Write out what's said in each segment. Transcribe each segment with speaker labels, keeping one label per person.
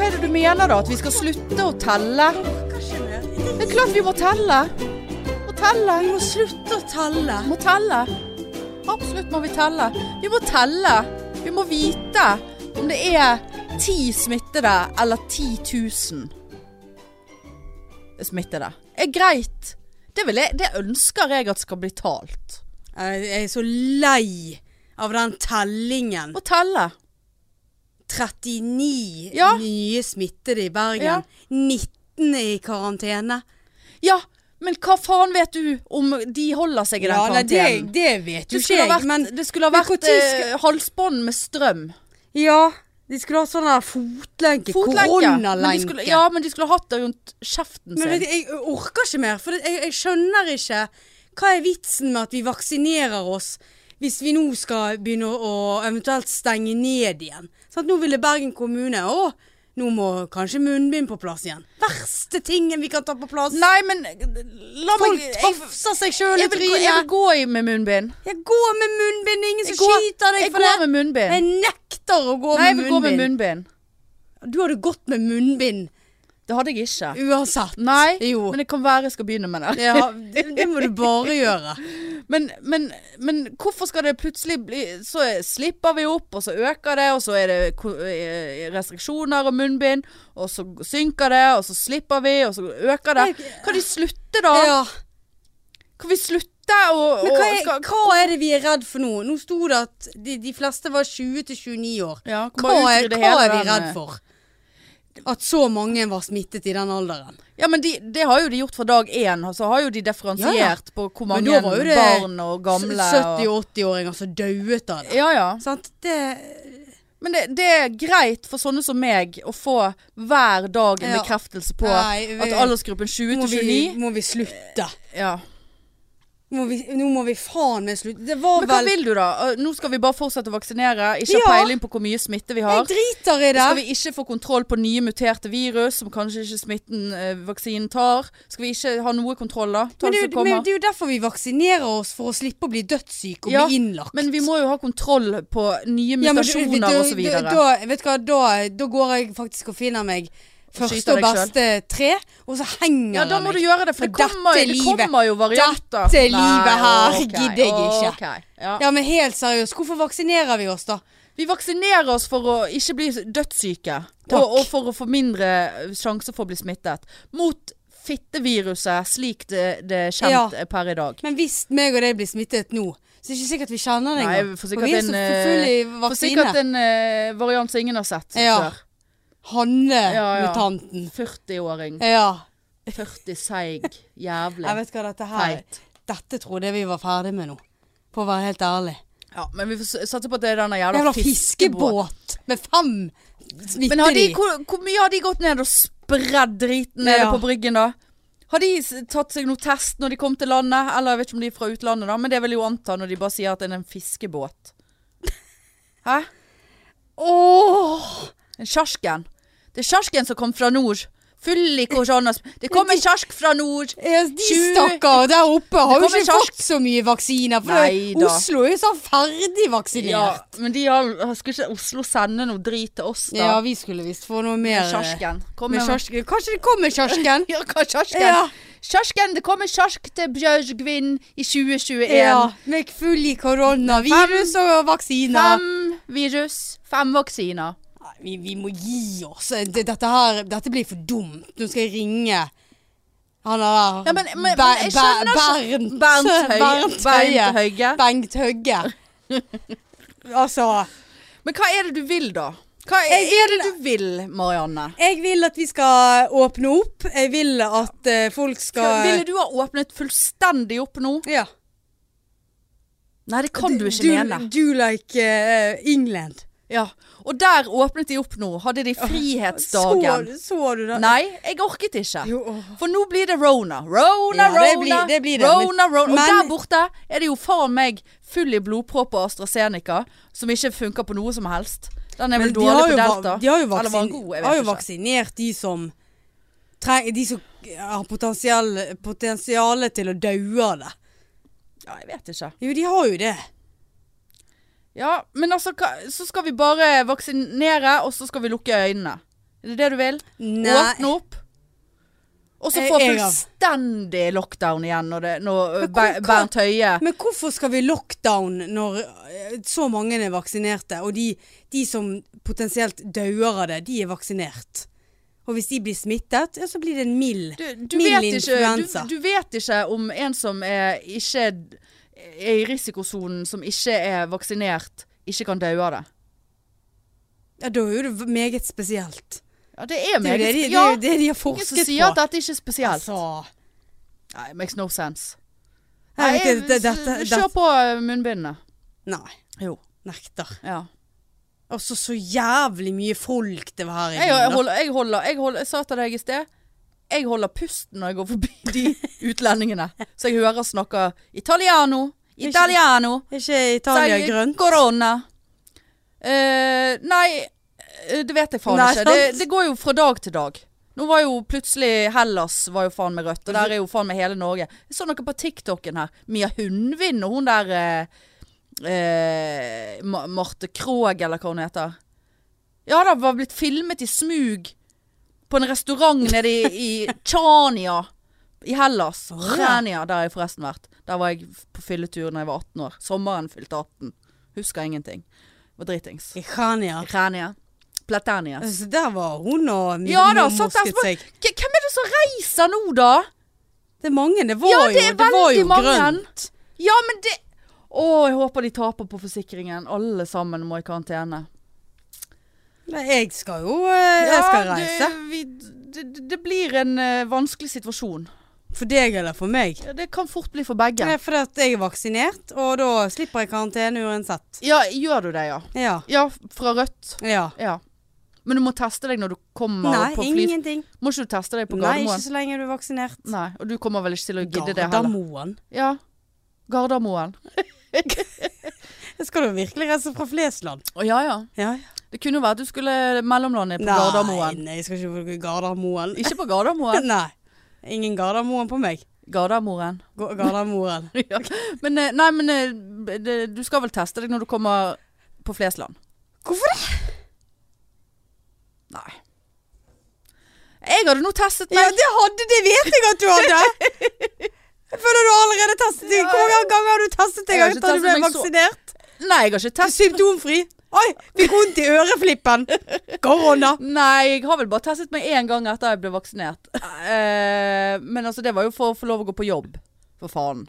Speaker 1: sier da at vi skal slutte å telle.
Speaker 2: Hva skjønner du?
Speaker 1: Det er klart vi må telle. Må telle.
Speaker 2: Vi må slutte å telle.
Speaker 1: Vi må telle. Absolutt må vi telle. Vi må telle. Vi må vite om det er ti smittede eller 10 000 smittede. Det er greit. Det, vil jeg, det ønsker jeg at skal bli talt.
Speaker 2: Eh, Jeg jeg er så lei av den tellingen.
Speaker 1: Må telle.
Speaker 2: 39
Speaker 1: Ja.
Speaker 2: nye smittede i Bergen.
Speaker 1: Ja.
Speaker 2: 19 er i karantene.
Speaker 1: Ja, men hva faen vet du om de holder seg i den
Speaker 2: nei, det,
Speaker 1: karantenen?
Speaker 2: det vet jo
Speaker 1: Det
Speaker 2: ikke
Speaker 1: skulle
Speaker 2: jeg,
Speaker 1: ha vært,
Speaker 2: men
Speaker 1: det skulle ha
Speaker 2: men
Speaker 1: vært
Speaker 2: hvor tid skal-
Speaker 1: eh, halsbånd med strøm.
Speaker 2: Ja, de skulle ha sånn der fotlenke.
Speaker 1: Fotlenke. Men de
Speaker 2: Koronalenke.
Speaker 1: skulle, ja, men de skulle ha hatt det rundt kjeften
Speaker 2: Men
Speaker 1: sin.
Speaker 2: vet du, jeg orker ikke mer, for det- jeg, jeg skjønner ikke hva er vitsen med at vi vaksinerer oss hvis vi nå skal begynne å, å eventuelt stenge ned igjen. Sånn, nå ville Bergen kommune Å, nå må kanskje munnbind på plass igjen. Verste tingen vi kan ta på plass.
Speaker 1: Nei, men la
Speaker 2: Folk
Speaker 1: meg jeg,
Speaker 2: tafser seg sjøl i
Speaker 1: jeg, vil, gå- jeg vil
Speaker 2: trynet.
Speaker 1: gå i med munnbind.
Speaker 2: Jeg går med munnbind, det er ingen
Speaker 1: Jeg
Speaker 2: som
Speaker 1: går,
Speaker 2: skyter deg
Speaker 1: jeg
Speaker 2: for
Speaker 1: går
Speaker 2: det.
Speaker 1: med munnbind.
Speaker 2: Jeg nekter å gå
Speaker 1: Nei, jeg
Speaker 2: med
Speaker 1: vil gå med
Speaker 2: munnbind.
Speaker 1: munnbind.
Speaker 2: Du hadde gått med munnbind
Speaker 1: Det hadde jeg ikke.
Speaker 2: uansett.
Speaker 1: Nei,
Speaker 2: Jo.
Speaker 1: men det kan være jeg skal begynne med det.
Speaker 2: Ja, det, det må du bare gjøre.
Speaker 1: Men, men, men hvorfor skal det plutselig bli Så slipper vi opp, og så øker det, og så er det ko- eh, restriksjoner og munnbind, og så synker det, og så slipper vi, og så øker det. Kan de slutte, da?
Speaker 2: Ja.
Speaker 1: Kan vi slutte å
Speaker 2: Men
Speaker 1: å-
Speaker 2: hva er,
Speaker 1: skal-
Speaker 2: hva er det vi er redd for nå? Nå sto det at de, de fleste var 20-29 år.
Speaker 1: ja,
Speaker 2: Hva
Speaker 1: bare
Speaker 2: er,
Speaker 1: utrydde
Speaker 2: hva
Speaker 1: hele
Speaker 2: er vi
Speaker 1: den,
Speaker 2: redd
Speaker 1: eh,
Speaker 2: for? At så mange var smittet i den alderen.
Speaker 1: Ja, men de, Det har jo de gjort fra dag én. og Så har jo de differensiert
Speaker 2: Ja, ja.
Speaker 1: på hvor
Speaker 2: Men
Speaker 1: mange
Speaker 2: da var jo det
Speaker 1: barn og gamle og
Speaker 2: 70-80-åringer som dauet av det.
Speaker 1: Ja, ja.
Speaker 2: Sant? Det,
Speaker 1: Men det, det er greit for sånne som meg å få hver dag en
Speaker 2: Ja.
Speaker 1: bekreftelse på
Speaker 2: Nei, vi-
Speaker 1: at aldersgruppen 20
Speaker 2: må,
Speaker 1: til
Speaker 2: vi,
Speaker 1: 29
Speaker 2: må vi slutte.
Speaker 1: ja.
Speaker 2: Må vi, nå må vi faen meg slutte. Det var
Speaker 1: Men hva
Speaker 2: vel
Speaker 1: vil du da? Eh, Nå skal vi bare fortsette å vaksinere. Ikke
Speaker 2: Ja.
Speaker 1: ha peiling på hvor mye smitte vi har.
Speaker 2: Jeg driter i det.
Speaker 1: Skal vi ikke få kontroll på nye muterte virus som kanskje ikke smitten eh, vaksinen tar? Skal vi ikke ha noe kontroll da? Ta
Speaker 2: Men det,
Speaker 1: det
Speaker 2: er
Speaker 1: som
Speaker 2: jo- men
Speaker 1: kommer.
Speaker 2: det er jo derfor vi vaksinerer oss, for å slippe å bli dødssyke og
Speaker 1: Ja,
Speaker 2: bli innlagt.
Speaker 1: Men vi må jo ha kontroll på nye
Speaker 2: Ja, men du-
Speaker 1: mutasjoner
Speaker 2: da-
Speaker 1: og så videre.
Speaker 2: Da, da, vet du hva, da, da går jeg faktisk og finner meg første
Speaker 1: skyter
Speaker 2: og
Speaker 1: deg
Speaker 2: beste tre, og så henger
Speaker 1: Ja, da må du
Speaker 2: jeg meg.
Speaker 1: gjøre det, for
Speaker 2: For
Speaker 1: det kommer,
Speaker 2: dette
Speaker 1: det
Speaker 2: livet-
Speaker 1: kommer jo varianter.
Speaker 2: dette livet her
Speaker 1: ok,
Speaker 2: gidder jeg ikke.
Speaker 1: ok, ja.
Speaker 2: Ja, men helt seriøst, hvorfor vaksinerer vi oss da?
Speaker 1: Vi vaksinerer oss for å ikke bli dødssyke.
Speaker 2: Takk.
Speaker 1: Og, og for å få mindre eh, sjanse for å bli smittet. Mot fitteviruset slik det, det er
Speaker 2: Ja.
Speaker 1: kjent eh, per i dag.
Speaker 2: Men hvis meg og deg blir smittet nå, så er det ikke sikkert vi kjenner det
Speaker 1: Nei,
Speaker 2: engang.
Speaker 1: for
Speaker 2: For
Speaker 1: sikkert
Speaker 2: vi er så
Speaker 1: en,
Speaker 2: for
Speaker 1: eh,
Speaker 2: fulle i
Speaker 1: For sikkert
Speaker 2: vaksine.
Speaker 1: en eh, variant som ingen har sett
Speaker 2: Ja.
Speaker 1: før. Ja, ja.
Speaker 2: Hanne-mutanten.
Speaker 1: 40-åring.
Speaker 2: Ja,
Speaker 1: 40 seig. Jævlig.
Speaker 2: Jeg vet hva dette her
Speaker 1: Teit.
Speaker 2: Dette trodde jeg vi var ferdig med nå. For å være helt ærlig.
Speaker 1: Ja, men vi får s- satse på at det er denne
Speaker 2: Jævla
Speaker 1: jævla fiskebåten.
Speaker 2: fiskebåt med fem smittede
Speaker 1: Men har de,
Speaker 2: i.
Speaker 1: hvor, hvor mye har de gått ned og spredd driten nede
Speaker 2: Ja.
Speaker 1: på bryggen da? Har de s- tatt seg noe test når de kom til landet? Eller jeg vet ikke om de er fra utlandet da, men det vil jeg jo anta når de bare sier at det er en fiskebåt. Hæ?
Speaker 2: Åh!
Speaker 1: En kjarsken. Det er kjarsken som kom fra nord. Full i korsanas. Det kom en kjarsk fra nord.
Speaker 2: Ja, De
Speaker 1: Tjue-
Speaker 2: stakkar der oppe har jo
Speaker 1: kommer
Speaker 2: ikke
Speaker 1: kiosk.
Speaker 2: fått så mye vaksiner. For
Speaker 1: Nei da.
Speaker 2: Oslo er jo sånn ferdig vaksinert.
Speaker 1: Ja, men de har, skulle ikke Oslo sende noe drit til oss
Speaker 2: Ja,
Speaker 1: da?
Speaker 2: vi skulle visst få noe mer. eh,
Speaker 1: Kjarsken. Kom
Speaker 2: Med
Speaker 1: med-
Speaker 2: kiosk. Kanskje det kommer kjarsken?
Speaker 1: Ja, hva kjarsken?
Speaker 2: Ja.
Speaker 1: Kjarsken, det kom en kjarsk til Bjørgvin i 2021.
Speaker 2: ja. Med full i koronavirus og vaksiner.
Speaker 1: Fem virus, fem vaksiner.
Speaker 2: Nei, Vi, vi må gi oss. Eh, Det- Dette her Dette blir for dumt. Nå skal jeg ringe han der
Speaker 1: Ja, men- men- men
Speaker 2: Ber-
Speaker 1: jeg
Speaker 2: Ber-
Speaker 1: skjønner ikke-
Speaker 2: Bernt
Speaker 1: Bernt Høie. Bernt Høie.
Speaker 2: Bengt Høgge. altså
Speaker 1: Men hva er det du vil, da? Hva er,
Speaker 2: Jeg
Speaker 1: er det du vil, Marianne?
Speaker 2: Jeg vil at vi skal åpne opp. Jeg vil at eh, folk skal
Speaker 1: Ville du ha åpnet fullstendig opp nå?
Speaker 2: Ja.
Speaker 1: Nei, det kan du ikke
Speaker 2: do,
Speaker 1: mene.
Speaker 2: Do like eh, England.
Speaker 1: Ja. Og der åpnet de opp nå. Hadde de frihetsdagen.
Speaker 2: Så, så du det?
Speaker 1: Nei, jeg orket ikke.
Speaker 2: Jo, åh.
Speaker 1: For nå blir det rona. Rona,
Speaker 2: Ja,
Speaker 1: rona.
Speaker 2: det blir- det blir det, men-
Speaker 1: Rona, rona. Og
Speaker 2: men-
Speaker 1: der borte er det jo faen meg full i blodpropp og AstraZeneca, som ikke funker på noe som helst. Den er
Speaker 2: Men
Speaker 1: vel
Speaker 2: de har
Speaker 1: dårlig på
Speaker 2: jo, va-
Speaker 1: delta.
Speaker 2: de har
Speaker 1: Eller
Speaker 2: jo,
Speaker 1: var
Speaker 2: vaksin,
Speaker 1: den god, jeg
Speaker 2: har
Speaker 1: vet
Speaker 2: jo
Speaker 1: ikke.
Speaker 2: vaksinert de som treng, De som har potensial, potensiale til å daue av det.
Speaker 1: Ja, jeg vet ikke.
Speaker 2: Jo, de har jo det.
Speaker 1: Ja, men altså, hva- så skal vi bare vaksinere, og så skal vi lukke øynene. Er det det du vil?
Speaker 2: Nei.
Speaker 1: Åpne opp. Og så
Speaker 2: Jeg-
Speaker 1: få
Speaker 2: jeg har-
Speaker 1: fullstendig lockdown igjen når, det, når
Speaker 2: Men hvor-
Speaker 1: Ber-
Speaker 2: hva-
Speaker 1: Bernt Høie
Speaker 2: Men hvorfor skal vi lockdown når eh, så mange er vaksinerte, og de, de som potensielt dauer av det, de er vaksinert? Og hvis de blir smittet, ja, så blir det en mild.
Speaker 1: du, du,
Speaker 2: Mild
Speaker 1: vet ikke,
Speaker 2: influensa.
Speaker 1: du, du vet ikke om en som er, ikke er i risikosonen, som ikke er vaksinert, ikke kan dø av det.
Speaker 2: Ja, da er jo det meget spesielt.
Speaker 1: Ja, det er
Speaker 2: Det er
Speaker 1: meget
Speaker 2: jo det de, det
Speaker 1: ja,
Speaker 2: er jo det de har
Speaker 1: Ingen
Speaker 2: forsket
Speaker 1: som
Speaker 2: på.
Speaker 1: sier at dette ikke er spesielt.
Speaker 2: Altså,
Speaker 1: Nei, makes no sense.
Speaker 2: jeg
Speaker 1: Nei,
Speaker 2: vet ikke, det, dette,
Speaker 1: kjør
Speaker 2: dette-
Speaker 1: på eh, munnbindene.
Speaker 2: Nei,
Speaker 1: Jo.
Speaker 2: nekter.
Speaker 1: Ja.
Speaker 2: Altså, så jævlig mye folk det var her
Speaker 1: Jeg, jeg,
Speaker 2: inne. da.
Speaker 1: holder, jeg, holder, jeg, holder, jeg sa til deg i sted Jeg holder pusten når jeg går forbi de utlendingene Så jeg hører snakke Italiano, italiano
Speaker 2: Er ikke Italia
Speaker 1: sai
Speaker 2: grønt?
Speaker 1: Corona Eh, Nei, eh, det vet jeg faen
Speaker 2: Nei,
Speaker 1: ikke
Speaker 2: sant?
Speaker 1: det, det går jo fra dag til dag Nå var jo plutselig Hellas var jo faen med rødt Og der er jo faen med hele Norge Jeg så noe på TikToken her Mia Hundvin og hun der eh, eh, Ma- Marte Krog eller hva hun heter ja da, var blitt filmet i smug på en restaurant nede i, i Chania i Hellas.
Speaker 2: Å, ja.
Speaker 1: Chania, der har jeg forresten vært. Der var jeg på fylletur da jeg var 18 år. Sommeren fylte 18. Husker ingenting. Var dritings.
Speaker 2: I Khania.
Speaker 1: Chania. Platania.
Speaker 2: Altså, der var hun og
Speaker 1: Ja da, satt der
Speaker 2: mosket
Speaker 1: som-
Speaker 2: seg.
Speaker 1: K- Hvem er det som reiser nå, da?
Speaker 2: Det er mange. Det var
Speaker 1: Ja,
Speaker 2: jo,
Speaker 1: det er
Speaker 2: det var
Speaker 1: veldig
Speaker 2: jo
Speaker 1: mange.
Speaker 2: grønt.
Speaker 1: Ja, men det Å, jeg håper de taper på forsikringen. Alle sammen må i karantene.
Speaker 2: Nei, jeg skal jo eh, Jeg skal reise.
Speaker 1: Det, vi, det, det- det blir en eh, vanskelig situasjon.
Speaker 2: For deg eller for meg.
Speaker 1: Ja, Det kan fort bli for begge.
Speaker 2: Nei, fordi at jeg er vaksinert, og da slipper jeg karantene uansett.
Speaker 1: Ja, gjør du det, ja?
Speaker 2: Ja.
Speaker 1: Ja, fra Rødt.
Speaker 2: ja.
Speaker 1: Ja. Men du må teste deg når du kommer
Speaker 2: Nei,
Speaker 1: på fly...
Speaker 2: ingenting.
Speaker 1: Må ikke du teste deg på
Speaker 2: Nei, ikke
Speaker 1: Gardermoen?
Speaker 2: så lenge du er vaksinert.
Speaker 1: Nei, og du kommer vel ikke til å gidde det heller?
Speaker 2: Gardermoen.
Speaker 1: Ja. Gardermoen.
Speaker 2: Jeg skal jo virkelig reise fra Flesland.
Speaker 1: Å ja, ja.
Speaker 2: Ja,
Speaker 1: Det kunne jo vært du skulle mellomlande på Gardermoen.
Speaker 2: Nei, jeg skal ikke på Gardermoen.
Speaker 1: Ikke på Gardermoen.
Speaker 2: Nei. Ingen Gardermoen på meg.
Speaker 1: Gardermoen.
Speaker 2: Ga- Gardermoen.
Speaker 1: Ja. Men eh, nei, men eh, det, du skal vel teste deg når du kommer på Flesland?
Speaker 2: Hvorfor
Speaker 1: det? Nei. Jeg hadde nå testet
Speaker 2: Ja,
Speaker 1: meg.
Speaker 2: det hadde det vet jeg at du hadde! Jeg føler du har allerede testet deg. Hvor mange ganger har du testet
Speaker 1: Jeg
Speaker 2: deg
Speaker 1: har ikke
Speaker 2: etter du ble
Speaker 1: testet meg så-
Speaker 2: vaksinert?
Speaker 1: Nei, jeg har ikke testet
Speaker 2: Symptomfri. Oi, fikk vondt i øreflippen. Korona.
Speaker 1: Nei, jeg har vel bare testet meg én gang etter jeg ble vaksinert. Eh, men altså, det var jo for å få lov å gå på jobb. For faen.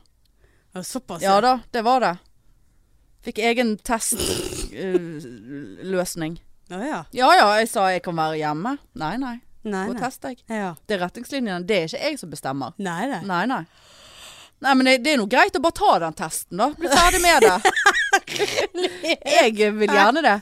Speaker 1: Altså.
Speaker 2: Ja, Såpass.
Speaker 1: Ja
Speaker 2: Ja,
Speaker 1: da, det var det. Fikk egen eh, testløsning.
Speaker 2: ja. ja.
Speaker 1: ja ja, jeg sa jeg kan være hjemme. Nei nei,
Speaker 2: Nei,
Speaker 1: gå og
Speaker 2: nei.
Speaker 1: test deg.
Speaker 2: Ja.
Speaker 1: Det er retningslinjene, det er ikke jeg som bestemmer.
Speaker 2: Nei, nei.
Speaker 1: Nei nei. Nei, men det, det er nå greit å bare ta den testen, da. Bli ferdig med det. Jeg vil gjerne det.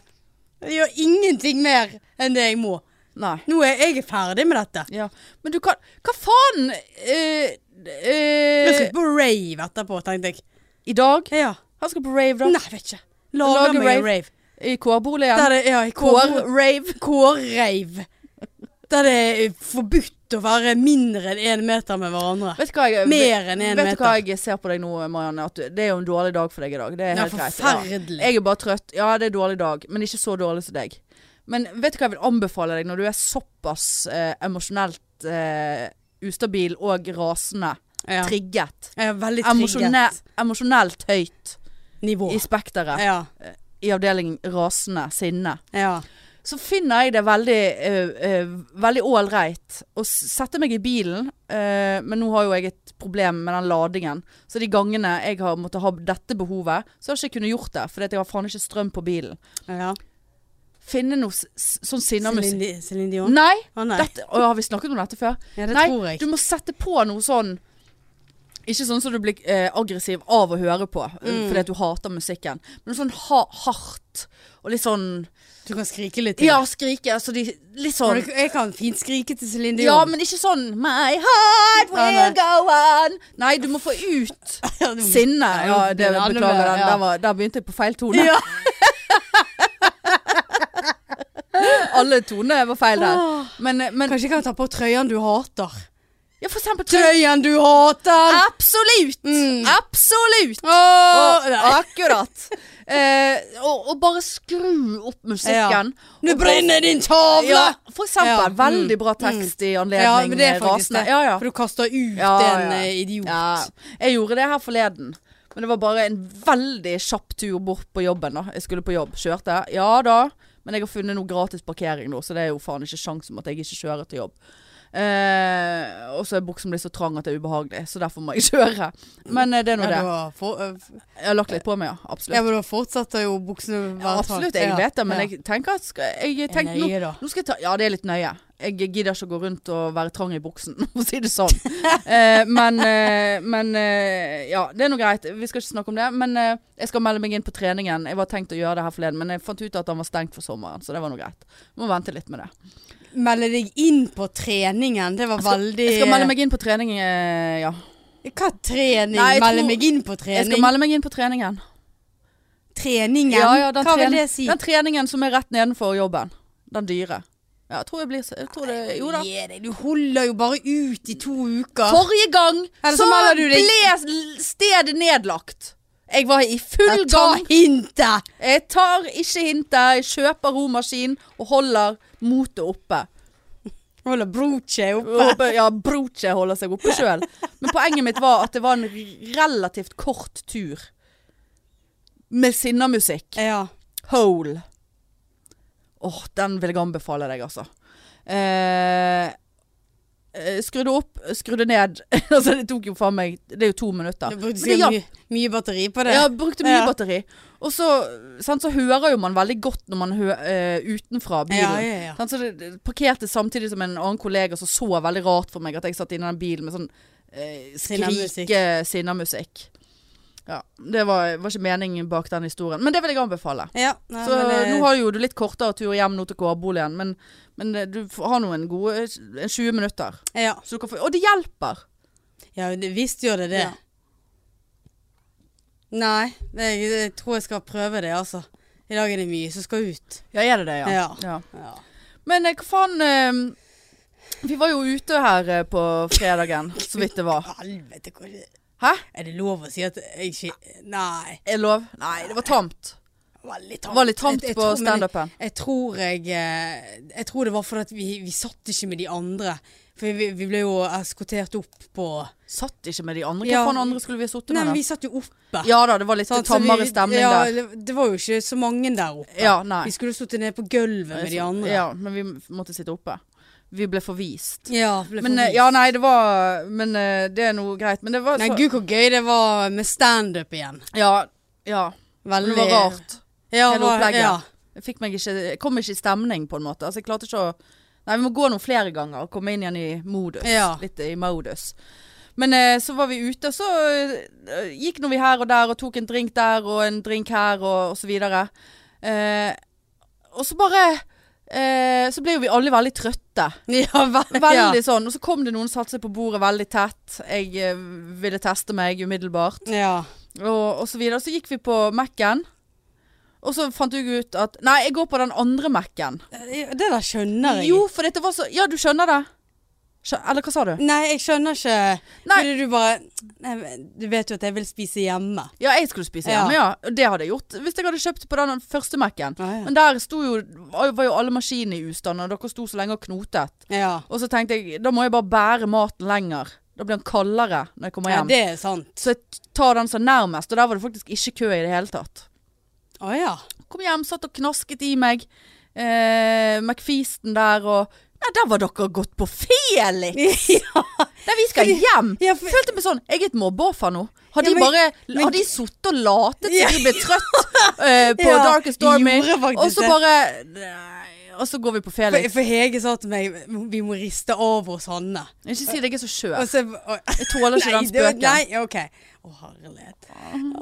Speaker 2: Jeg gjør ingenting mer enn det jeg må.
Speaker 1: Nei.
Speaker 2: Nå er jeg ferdig med dette.
Speaker 1: Ja. Men du kan Hva faen? Eh, eh,
Speaker 2: Jeg skal på rave etterpå, tenkte jeg.
Speaker 1: I dag?
Speaker 2: Ja.
Speaker 1: Han skal på rave, da.
Speaker 2: Nei, jeg vet ikke. Lager
Speaker 1: Lager
Speaker 2: meg en
Speaker 1: rave.
Speaker 2: rave.
Speaker 1: I kårboligen.
Speaker 2: Der det, ja, i Kåre-
Speaker 1: Kår-rave.
Speaker 2: Kårreiv. Der det er forbudt å være mindre enn én meter med hverandre.
Speaker 1: Vet du hva jeg
Speaker 2: Mer enn én
Speaker 1: Vet du hva
Speaker 2: meter.
Speaker 1: jeg ser på deg nå, Marianne? At du, det er jo en dårlig dag for deg i dag. Det er
Speaker 2: Ja,
Speaker 1: helt greit.
Speaker 2: forferdelig.
Speaker 1: Jeg er bare trøtt. Ja, det er en dårlig dag, men ikke så dårlig som deg. Men vet du hva jeg vil anbefale deg når du er såpass eh, emosjonelt eh, ustabil og rasende?
Speaker 2: Ja.
Speaker 1: Trigget.
Speaker 2: Jeg er veldig
Speaker 1: Emosjone-
Speaker 2: trigget
Speaker 1: Emosjonelt høyt
Speaker 2: nivå.
Speaker 1: i spekteret.
Speaker 2: Ja.
Speaker 1: I avdelingen rasende, sinne.
Speaker 2: ja.
Speaker 1: så finner jeg det veldig eh, eh, Veldig ålreit å s- sette meg i bilen. eh, men nå har jo jeg et problem med den ladingen. Så de gangene jeg har måttet ha dette behovet, så har jeg ikke kunnet gjort det. Fordi at jeg har faen ikke strøm på bilen.
Speaker 2: ja.
Speaker 1: Finne noe s s- sånn sinnamusikk.
Speaker 2: Celine Celine Dion?
Speaker 1: Nei!
Speaker 2: Å nei.
Speaker 1: Dette, å, har vi snakket om dette før?
Speaker 2: Ja, det
Speaker 1: Nei,
Speaker 2: tror jeg.
Speaker 1: du må sette på noe sånn Ikke sånn som du blir eh, aggressiv av å høre på eh, fordi at du hater musikken, men noe sånn ha hardt og litt sånn
Speaker 2: Du kan skrike litt til.
Speaker 1: Ja, skrike. Altså de Litt sånn
Speaker 2: Jeg jeg kan fint skrike til Celine
Speaker 1: Ja,
Speaker 2: Dion.
Speaker 1: men ikke sånn My heart will
Speaker 2: Ja, nei.
Speaker 1: go on Nei, du må få ut sinne Ja,
Speaker 2: Ja,
Speaker 1: det
Speaker 2: den andre
Speaker 1: beklager
Speaker 2: med,
Speaker 1: den
Speaker 2: ja.
Speaker 1: der, var, der begynte jeg på feil tone
Speaker 2: Ja.
Speaker 1: Alle tonene var feil der
Speaker 2: Åh.
Speaker 1: men, men,
Speaker 2: Ah. Kanskje jeg kan ta på trøyen du hater.
Speaker 1: Ja, for eksempel trøy.
Speaker 2: Trøyen du hater!
Speaker 1: Absolutt!
Speaker 2: Mm.
Speaker 1: Absolutt!
Speaker 2: Åh,
Speaker 1: Og, akkurat. Eh, og, og bare skru opp musikken. Og
Speaker 2: Nå
Speaker 1: bare-
Speaker 2: brenner din tavle!
Speaker 1: Ja, for eksempel.
Speaker 2: Ja, mm,
Speaker 1: Veldig bra tekst i
Speaker 2: Ja,
Speaker 1: anledning
Speaker 2: men det er faktisk
Speaker 1: rasende.
Speaker 2: det.
Speaker 1: Ja, ja.
Speaker 2: For du kaster ut
Speaker 1: Ja,
Speaker 2: en
Speaker 1: ja.
Speaker 2: eh, idiot.
Speaker 1: Ja, jeg gjorde det her forleden. Men det var bare en veldig kjapp tur bort på jobben. da Jeg skulle på jobb. Kjørte. Ja da. Men jeg har funnet noe gratis parkering nå, så det er jo faen ikke sjans om at jeg ikke kjører til jobb. Eh, og så er buksen blitt så trang at det er ubehagelig, så derfor må jeg kjøre. Men eh, det er nå
Speaker 2: Ja,
Speaker 1: det.
Speaker 2: du har for, eh,
Speaker 1: Jeg har lagt litt på meg, ja. Absolutt.
Speaker 2: ja, men da fortsetter jo buksene å
Speaker 1: Ja,
Speaker 2: være
Speaker 1: absolutt, jeg vet det, men jeg tenker at skal, jeg
Speaker 2: er
Speaker 1: tenker,
Speaker 2: nøye,
Speaker 1: nå,
Speaker 2: da.
Speaker 1: nå skal jeg ta, Ja, det er litt nøye. Jeg gidder ikke å gå rundt og være trang i buksen, for å si det sånn. Eh, men eh, men eh, ja, det er nå greit. Vi skal ikke snakke om det. Men eh, jeg skal melde meg inn på treningen. Jeg var tenkt å gjøre det her forleden, men jeg fant ut at den var stengt for sommeren, så det var nå greit. Må vente litt med det.
Speaker 2: Melde deg inn på treningen, det var veldig
Speaker 1: Jeg skal melde meg inn på trening, eh, ja.
Speaker 2: Hva trening?
Speaker 1: Nei, jeg
Speaker 2: melde
Speaker 1: tror-
Speaker 2: meg inn på
Speaker 1: Jeg skal
Speaker 2: trening?
Speaker 1: melde meg inn på treningen.
Speaker 2: Treningen?
Speaker 1: Ja, ja, den
Speaker 2: Hva
Speaker 1: tren-
Speaker 2: vil det si?
Speaker 1: Den treningen som er rett nedenfor jobben. Den dyre. Ja, jeg tror jeg blir jeg tror det, Jo da.
Speaker 2: Gi deg, Du holder jo bare ut i to uker.
Speaker 1: Forrige gang
Speaker 2: Eller så
Speaker 1: så,
Speaker 2: melder du deg-
Speaker 1: ble l- stedet nedlagt. Jeg var i full
Speaker 2: Ja, ta
Speaker 1: gang.
Speaker 2: hintet!
Speaker 1: Jeg tar ikke hintet. Jeg kjøper romaskin og holder motet oppe.
Speaker 2: Holder broche
Speaker 1: Og
Speaker 2: oppe.
Speaker 1: håper- Ja, Broche holder seg oppe sjøl. Men poenget mitt var at det var en r- relativt kort tur. Med sinnamusikk.
Speaker 2: Ja.
Speaker 1: Hole. Åh, den vil jeg anbefale deg, altså. Eh, eh, skrudde opp, skrudde ned. altså, det tok jo faen meg Det er jo to minutter.
Speaker 2: Du
Speaker 1: Men
Speaker 2: brukte
Speaker 1: det hjalp
Speaker 2: sikkert mye, mye batteri på det.
Speaker 1: Ja, brukte mye
Speaker 2: Ja.
Speaker 1: batteri. Og så, sant, så hører jo man veldig godt når man hø eh, utenfra bilen.
Speaker 2: Ja, ja, ja.
Speaker 1: Sant, så det, det parkerte samtidig som en annen kollega som så veldig rart for meg at jeg satt inne i den bilen med sånn eh,
Speaker 2: Sinnamusikk.
Speaker 1: skrike sinnamusikk. Ja, det var, var ikke meningen bak den historien. Men det vil jeg anbefale.
Speaker 2: Ja, nei,
Speaker 1: Så
Speaker 2: men, eh,
Speaker 1: nå har jo du litt kortere tur hjem nå til kårboligen, men, men eh, du f- har nå en gode en 20 minutter.
Speaker 2: ja.
Speaker 1: Så du kan få, og det hjelper!
Speaker 2: Ja, det- visst gjør det det.
Speaker 1: Ja.
Speaker 2: Nei, jeg, jeg tror jeg skal prøve det, altså. I dag er det mye som skal ut.
Speaker 1: Ja, er det det, ja?
Speaker 2: Ja.
Speaker 1: ja.
Speaker 2: Ja.
Speaker 1: Men eh, hva faen eh, Vi var jo ute her eh, på fredagen, så vidt det var.
Speaker 2: Helvete, hvor Er
Speaker 1: Hæ?
Speaker 2: det lov å si at jeg ikke Nei.
Speaker 1: Er det lov? Nei, det var tamt.
Speaker 2: Det var litt
Speaker 1: Det
Speaker 2: tamt.
Speaker 1: var litt tamt
Speaker 2: Jeg- jeg
Speaker 1: på
Speaker 2: tror- men jeg-
Speaker 1: standupen.
Speaker 2: Jeg tror jeg eh, Jeg tror det var fordi at vi, vi satt ikke med de andre. For vi, vi ble jo eskortert opp på
Speaker 1: Satt ikke med de andre. Hva
Speaker 2: Ja.
Speaker 1: faen andre skulle vi ha sittet
Speaker 2: Nei,
Speaker 1: med?
Speaker 2: men
Speaker 1: da? Sånn,
Speaker 2: vi satt jo oppe.
Speaker 1: Ja da, det var litt
Speaker 2: sant, så vi-
Speaker 1: tammere stemning
Speaker 2: ja,
Speaker 1: der.
Speaker 2: Det var jo ikke så mange der oppe.
Speaker 1: Ja, nei.
Speaker 2: Vi skulle sittet ned på gulvet med de andre.
Speaker 1: Ja, men vi måtte sitte oppe. Vi ble forvist.
Speaker 2: Ja, ble
Speaker 1: Men, eh,
Speaker 2: forvist.
Speaker 1: ja, altså- nei, det var Men eh, det er noe greit. Men det var
Speaker 2: Nei,
Speaker 1: så
Speaker 2: gud hvor gøy det var med standup igjen.
Speaker 1: Ja. ja. Men
Speaker 2: Veldig
Speaker 1: det var rart.
Speaker 2: Ja,
Speaker 1: hele
Speaker 2: var-
Speaker 1: opplegget.
Speaker 2: Ja.
Speaker 1: Jeg, fikk meg ikke, jeg kom ikke i stemning, på en måte. Altså, jeg klarte ikke å Nei, vi må gå noen flere ganger og komme inn igjen i modus.
Speaker 2: Ja.
Speaker 1: Litt i modus. Men eh, så var vi ute, og så eh, gikk nå vi her og der og tok en drink der og en drink her og, og så videre. Eh, og så bare eh, Så ble jo vi alle veldig trøtte.
Speaker 2: ja ve-
Speaker 1: Veldig sånn. Og så kom det noen som satte seg på bordet veldig tett. Jeg eh, ville teste meg umiddelbart
Speaker 2: Ja. ja.
Speaker 1: og, og så videre. Så gikk vi på Mac-en, og så fant jeg ut at Nei, jeg går på den andre Mac-en.
Speaker 2: Det der skjønner jeg.
Speaker 1: Jo, for dette var så Ja, du skjønner det? Skjø eller hva sa du?
Speaker 2: Nei, jeg skjønner ikke.
Speaker 1: Nei.
Speaker 2: Fordi du bare Nei, men du vet jo at jeg vil spise hjemme.
Speaker 1: Ja, jeg skulle spise
Speaker 2: Ja.
Speaker 1: hjemme, ja. Og Det hadde jeg gjort hvis jeg hadde kjøpt på den første Mac-en.
Speaker 2: Ja, ja.
Speaker 1: Men der sto jo, var jo alle maskinene i ustand, og dere sto så lenge og knotet.
Speaker 2: Ja.
Speaker 1: Og så tenkte jeg da må jeg bare bære maten lenger. Da blir den kaldere når jeg kommer
Speaker 2: ja
Speaker 1: hjem.
Speaker 2: det er sant.
Speaker 1: Så jeg t- tar den som er nærmest, og der var det faktisk ikke kø i det hele tatt.
Speaker 2: Å ja.
Speaker 1: Kom hjem, satt og knasket i meg eh, McFeasten der og Nei, der var dere gått på Felix!
Speaker 2: ja.
Speaker 1: Nei, vi skal hjem!
Speaker 2: ja, for-
Speaker 1: Følte meg sånn Jeg er et mobbeoffer nå. Har de
Speaker 2: Ja, men-
Speaker 1: bare
Speaker 2: men-
Speaker 1: Har de sittet og latet
Speaker 2: Ja.
Speaker 1: til de ble trøtt eh, på
Speaker 2: Ja,
Speaker 1: Dark and Stormy,
Speaker 2: gjorde faktisk
Speaker 1: og så
Speaker 2: det.
Speaker 1: bare Nei, Og så går vi på
Speaker 2: For,
Speaker 1: Felix.
Speaker 2: for Hege sa til meg vi må riste av oss Hanne.
Speaker 1: Ikke si det, jeg er så skjør.
Speaker 2: Og så og,
Speaker 1: Jeg tåler ikke den
Speaker 2: det var-
Speaker 1: spøken.
Speaker 2: Nei, OK. Å, herlighet.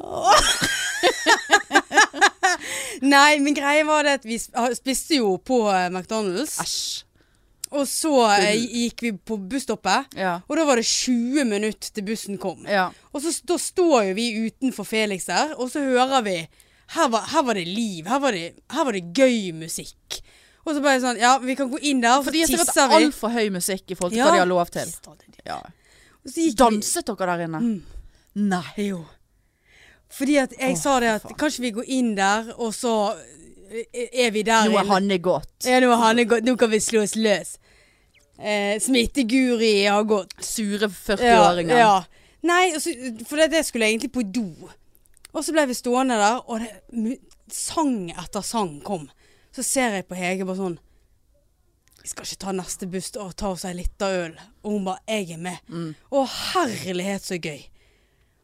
Speaker 2: Åh. nei, men greia var det at vi sp- spiste jo på eh, McDonald's.
Speaker 1: Æsj.
Speaker 2: Og så eh, gikk vi på busstoppet,
Speaker 1: Ja.
Speaker 2: og da var det 20 minutter til bussen kom.
Speaker 1: ja.
Speaker 2: Og så da står jo vi utenfor Felix der, og så hører vi Her var, her var det liv. Her var det, her var det gøy musikk. Og så bare sånn Ja, vi kan gå inn der, og så
Speaker 1: For de har sikkert
Speaker 2: tisser vi.
Speaker 1: altfor høy musikk i forhold til
Speaker 2: Ja.
Speaker 1: hva de har lov til.
Speaker 2: Tisser de.
Speaker 1: Ja.
Speaker 2: Og så gikk vi-
Speaker 1: Danset dere der inne?
Speaker 2: Mm.
Speaker 1: Nei.
Speaker 2: Jo. Fordi at
Speaker 1: Å,
Speaker 2: jeg sa det at
Speaker 1: fy faen.
Speaker 2: kanskje vi går inn der, og så eh, er vi der
Speaker 1: Nå
Speaker 2: inne.
Speaker 1: er Hanne gått.
Speaker 2: Ja, nå, er han gått. nå kan vi slå oss løs. Eh, Smitteguri har gått.
Speaker 1: Sure 40-åringer.
Speaker 2: Ja, ja. Nei, og så- for det, det skulle jeg egentlig på do. Og så ble vi stående der, og det, mu- sang etter sang kom. Så ser jeg på Hege bare sånn Vi skal ikke ta neste buss og ta oss ei lita øl. Og hun bare 'Jeg er med'.
Speaker 1: Mm.
Speaker 2: Å herlighet, så gøy.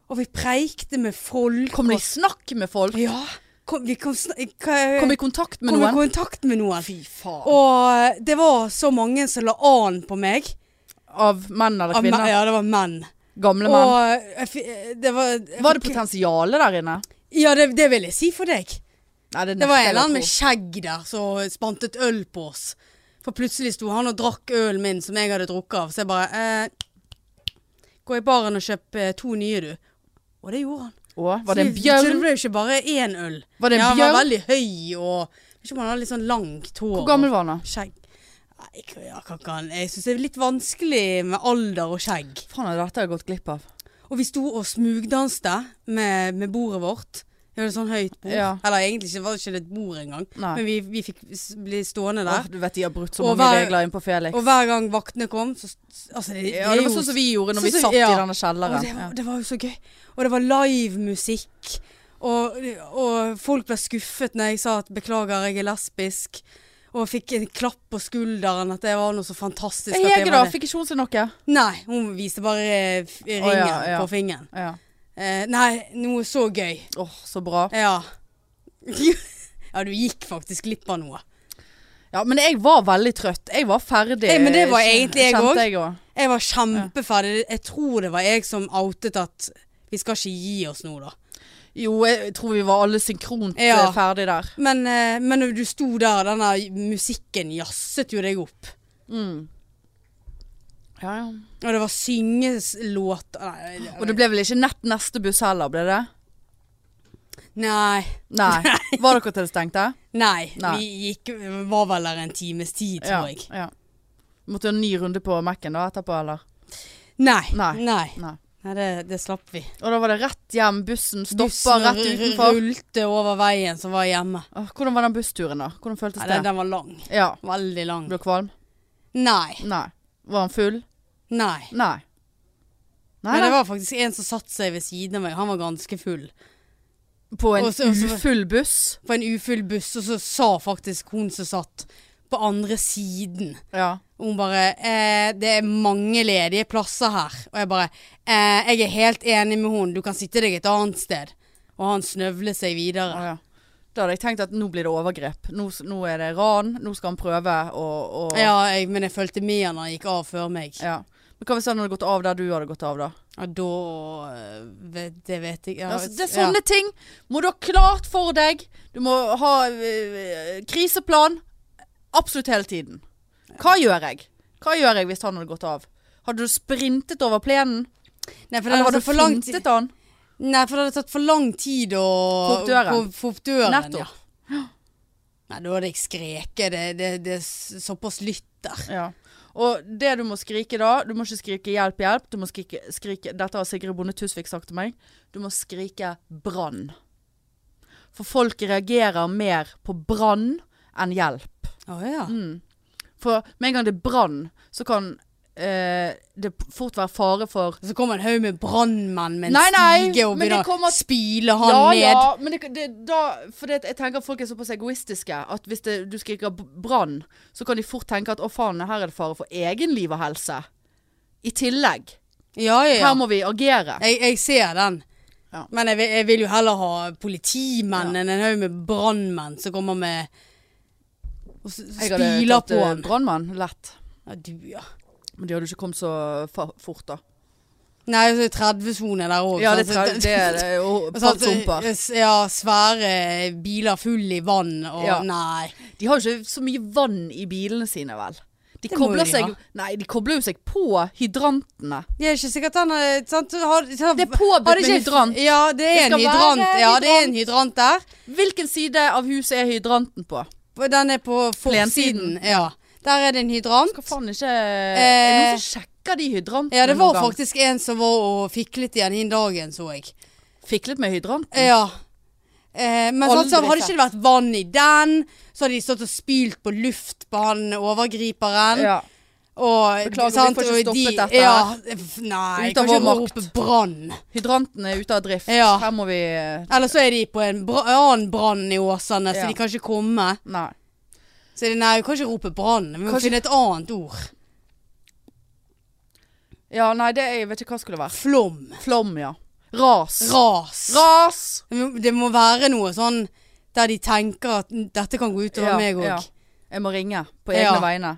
Speaker 2: Og vi preikte med folk.
Speaker 1: Kom du
Speaker 2: og-
Speaker 1: i snakk med folk?
Speaker 2: Ja. Kom, vi kom, sn- hva-
Speaker 1: Kom i kontakt med
Speaker 2: kom i
Speaker 1: noen?
Speaker 2: kontakt med noen.
Speaker 1: Fy faen.
Speaker 2: Og eh, det var så mange som la an på meg.
Speaker 1: Av menn eller
Speaker 2: Av
Speaker 1: kvinner?
Speaker 2: me- Ja, det var menn.
Speaker 1: Gamle menn?
Speaker 2: Og jeg fi- eh, det var jeg
Speaker 1: Var det
Speaker 2: fikk-
Speaker 1: potensialet der inne?
Speaker 2: Ja, det, det vil jeg si for deg.
Speaker 1: Nei,
Speaker 2: Det var en
Speaker 1: nekter jeg å
Speaker 2: eller annen med
Speaker 1: tro.
Speaker 2: skjegg der som spant et øl på oss. For plutselig sto han og drakk ølen min som jeg hadde drukket av. Så jeg bare eh, Gå i baren og kjøp eh, to nye, du. Og det gjorde han.
Speaker 1: Å, Var det en
Speaker 2: Så vi- Så det
Speaker 1: bjørn?
Speaker 2: ble jo ikke bare én øl.
Speaker 1: Var det en
Speaker 2: ja, Han var
Speaker 1: bjørn?
Speaker 2: veldig høy og jeg vet Ikke om han hadde litt sånn langt hår.
Speaker 1: Hvor gammel var han da?
Speaker 2: og Skjegg. Nei, jeg, kan- jeg, kan ikke han- jeg syns det er litt vanskelig med alder og skjegg.
Speaker 1: Faen, er det dette jeg har gått glipp av?
Speaker 2: Og vi sto og smugdanste med, med bordet vårt. Vi hadde sånn høyt bord.
Speaker 1: Ja.
Speaker 2: Eller egentlig ikke, var det ikke et bord engang.
Speaker 1: Nei.
Speaker 2: Men vi, vi fikk s- bli stående
Speaker 1: Åh,
Speaker 2: der.
Speaker 1: du vet de har brutt så
Speaker 2: Og
Speaker 1: mange
Speaker 2: hver-
Speaker 1: regler inn på Felix.
Speaker 2: Og hver gang vaktene kom, så altså, det,
Speaker 1: ja, det var sånn som vi gjorde når
Speaker 2: sånn
Speaker 1: vi
Speaker 2: som-
Speaker 1: satt
Speaker 2: ja.
Speaker 1: i denne
Speaker 2: og
Speaker 1: kjelleren.
Speaker 2: det, var, det var jo så gøy. Og det var livemusikk. Og, og folk ble skuffet når jeg sa at beklager, jeg er lesbisk. Og fikk en klapp på skulderen at det var noe så fantastisk.
Speaker 1: Ja.
Speaker 2: at jeg
Speaker 1: Hege, da?
Speaker 2: var det.
Speaker 1: Fikk ikke hun seg noe?
Speaker 2: Nei, hun viste bare eh, f- ringen
Speaker 1: ja.
Speaker 2: på fingeren.
Speaker 1: Ja.
Speaker 2: Eh, nei, noe så gøy.
Speaker 1: Åh, så bra.
Speaker 2: Ja. ja, du gikk faktisk glipp av noe.
Speaker 1: Ja, men jeg var veldig trøtt. Jeg var ferdig.
Speaker 2: Eh, men det var egentlig jeg
Speaker 1: Kjente
Speaker 2: også.
Speaker 1: jeg òg.
Speaker 2: Jeg var kjempeferdig. Jeg tror det var jeg som outet at vi skal ikke gi oss nå, da.
Speaker 1: Jo, jeg tror vi var alle synkront
Speaker 2: Ja.
Speaker 1: eh, ferdig der.
Speaker 2: Men, eh, men når du sto der, denne musikken jazzet jo deg opp.
Speaker 1: Ja, ja.
Speaker 2: Og det var syngelåt Nei. det-
Speaker 1: Og det ble vel ikke nett neste buss heller, ble det?
Speaker 2: nei,
Speaker 1: Nei. Var dere til det stengte?
Speaker 2: nei.
Speaker 1: Nei.
Speaker 2: Vi gikk, var vel der en times tid, tror jeg.
Speaker 1: Ja. Måtte du ha en ny runde på Mac-en da etterpå, eller?
Speaker 2: Nei.
Speaker 1: Nei.
Speaker 2: nei.
Speaker 1: Nei.
Speaker 2: Nei, det, det slapp vi.
Speaker 1: Og da var det rett hjem, bussen stoppa
Speaker 2: Bussen
Speaker 1: rett
Speaker 2: r-
Speaker 1: utenfor.
Speaker 2: Rullte over veien som var hjemme.
Speaker 1: Åh, Hvordan var den bussturen, da? Hvordan føltes
Speaker 2: Nei,
Speaker 1: det?
Speaker 2: den, den var lang.
Speaker 1: Ja.
Speaker 2: Veldig lang.
Speaker 1: Ble du kvalm?
Speaker 2: Nei.
Speaker 1: Nei. Var han full?
Speaker 2: Nei.
Speaker 1: Nei. Nei,
Speaker 2: Men det
Speaker 1: nei.
Speaker 2: var faktisk en som satt seg ved siden av meg. Han var ganske full.
Speaker 1: På en
Speaker 2: Og så- og så-
Speaker 1: ufull buss?
Speaker 2: På en ufull buss, og så sa faktisk hun som satt på andre siden
Speaker 1: Ja.
Speaker 2: Hun bare eh, 'Det er mange ledige plasser her.' Og jeg bare eh, 'Jeg er helt enig med hun. Du kan sitte deg et annet sted.' Og han snøvlet seg videre.
Speaker 1: Å, ja. Da hadde jeg tenkt at nå blir det overgrep. Nå, s- nå er det ran. Nå skal han prøve å, å
Speaker 2: Ja, jeg, men jeg fulgte med han når han gikk av før meg. Ja,
Speaker 1: Ja. Men hva hvis han hadde gått av der du hadde gått av, da?
Speaker 2: da eh, vet- Det vet jeg ja,
Speaker 1: altså, det er
Speaker 2: ja.
Speaker 1: sånne ting må du ha klart for deg. Du må ha eh, kriseplan absolutt hele tiden. Hva gjør jeg? Hva gjør jeg hvis han hadde gått av? Hadde du sprintet over plenen?
Speaker 2: Nei, for det
Speaker 1: Eller
Speaker 2: hadde
Speaker 1: hadde du
Speaker 2: tatt for lang
Speaker 1: fintet
Speaker 2: tid
Speaker 1: han?
Speaker 2: Nei, for det hadde tatt for lang tid å
Speaker 1: Få opp døren.
Speaker 2: å- Få opp døren
Speaker 1: Nettopp.
Speaker 2: Ja. Nei, da hadde jeg skreket. Det, det, det er s- såpass lytt der.
Speaker 1: Ja. Og det du må skrike da, du må ikke skrike 'hjelp, hjelp', du må skrike, skrike Dette har Sigrid Bonde Tusvik sagt til meg. Du må skrike 'brann'. For folk reagerer mer på brann enn hjelp.
Speaker 2: Å ja.
Speaker 1: For med en gang det er brann, så kan eh, det fort være fare for
Speaker 2: Så kommer en haug med brannmenn med en
Speaker 1: Nei, nei,
Speaker 2: stige og
Speaker 1: men det
Speaker 2: begynner
Speaker 1: kommer-
Speaker 2: å spyle han ned.
Speaker 1: ja, men det, det, da, for det, jeg tenker at folk er såpass egoistiske at hvis det, du skriker b- brann, så kan de fort tenke at å faen, her er det fare for egen liv og helse. I tillegg.
Speaker 2: Ja, ja, ja.
Speaker 1: Her må vi agere.
Speaker 2: Jeg, jeg ser den.
Speaker 1: Ja.
Speaker 2: Men jeg, vil- jeg vil jo heller ha politimenn enn en haug med brannmenn som kommer med Og s-
Speaker 1: Jeg hadde
Speaker 2: spyler
Speaker 1: tatt,
Speaker 2: på
Speaker 1: eh,
Speaker 2: han.
Speaker 1: brandmann, lett.
Speaker 2: Ja, du, ja.
Speaker 1: Men de hadde ikke kommet så fa- fort, da.
Speaker 2: Nei, så er det 30-sone der òg.
Speaker 1: Ja, det, tre- det er det. Og
Speaker 2: Og sånn at-
Speaker 1: sumper.
Speaker 2: Ja, svære biler full i vann og
Speaker 1: Ja.
Speaker 2: Nei.
Speaker 1: De har jo ikke så mye vann i bilene sine, vel. De
Speaker 2: Det må jo
Speaker 1: kobler,
Speaker 2: de
Speaker 1: seg,
Speaker 2: ha.
Speaker 1: nei, de kobler jo seg på hydrantene.
Speaker 2: Det er ikke sikkert han er sant? Har, har,
Speaker 1: Det er påbudt
Speaker 2: har
Speaker 1: med
Speaker 2: det ikke-
Speaker 1: hydrant.
Speaker 2: Ja, det
Speaker 1: Det
Speaker 2: er en
Speaker 1: skal
Speaker 2: hydrant.
Speaker 1: være
Speaker 2: Ja, det er en hydrant der.
Speaker 1: Hvilken side av huset er hydranten på?
Speaker 2: Og Den er på
Speaker 1: Plensiden.
Speaker 2: forsiden. Ja. Der er det en hydrant.
Speaker 1: Skal faen ikke Er det noen som lekker de hydrantene
Speaker 2: Eh, Ja, det var
Speaker 1: noen gang?
Speaker 2: faktisk en som var og fiklet igjen den dagen, så jeg.
Speaker 1: Fiklet med hydranten?
Speaker 2: Ja. Eh, men sånn, så
Speaker 1: Aldri
Speaker 2: hadde ikke det vært vann i den, så hadde de stått og spylt på luft på han overgriperen.
Speaker 1: Ja.
Speaker 2: Og,
Speaker 1: Beklager,
Speaker 2: sant,
Speaker 1: vi får ikke
Speaker 2: og
Speaker 1: stoppet dette
Speaker 2: Ja, f- nei,
Speaker 1: Ut av
Speaker 2: kan
Speaker 1: vår
Speaker 2: ikke
Speaker 1: makt.
Speaker 2: rope brann.
Speaker 1: Hydranten er ute av drift.
Speaker 2: Ja.
Speaker 1: Her må vi eh,
Speaker 2: Eller så er de på en bra, annen brann i Åsane,
Speaker 1: Ja.
Speaker 2: så de kan ikke komme.
Speaker 1: Nei.
Speaker 2: Så de, nei, vi kan ikke rope brann, vi må
Speaker 1: Kanskje-
Speaker 2: finne et annet ord.
Speaker 1: Ja, nei, det er, jeg vet ikke hva det skulle vært.
Speaker 2: Flom.
Speaker 1: Flom, ja. Ras.
Speaker 2: Ras.
Speaker 1: Ras!
Speaker 2: Det må være noe sånn der de tenker at dette kan gå utover
Speaker 1: Ja,
Speaker 2: meg òg.
Speaker 1: ja. Jeg må ringe på egne
Speaker 2: Ja.
Speaker 1: vegne.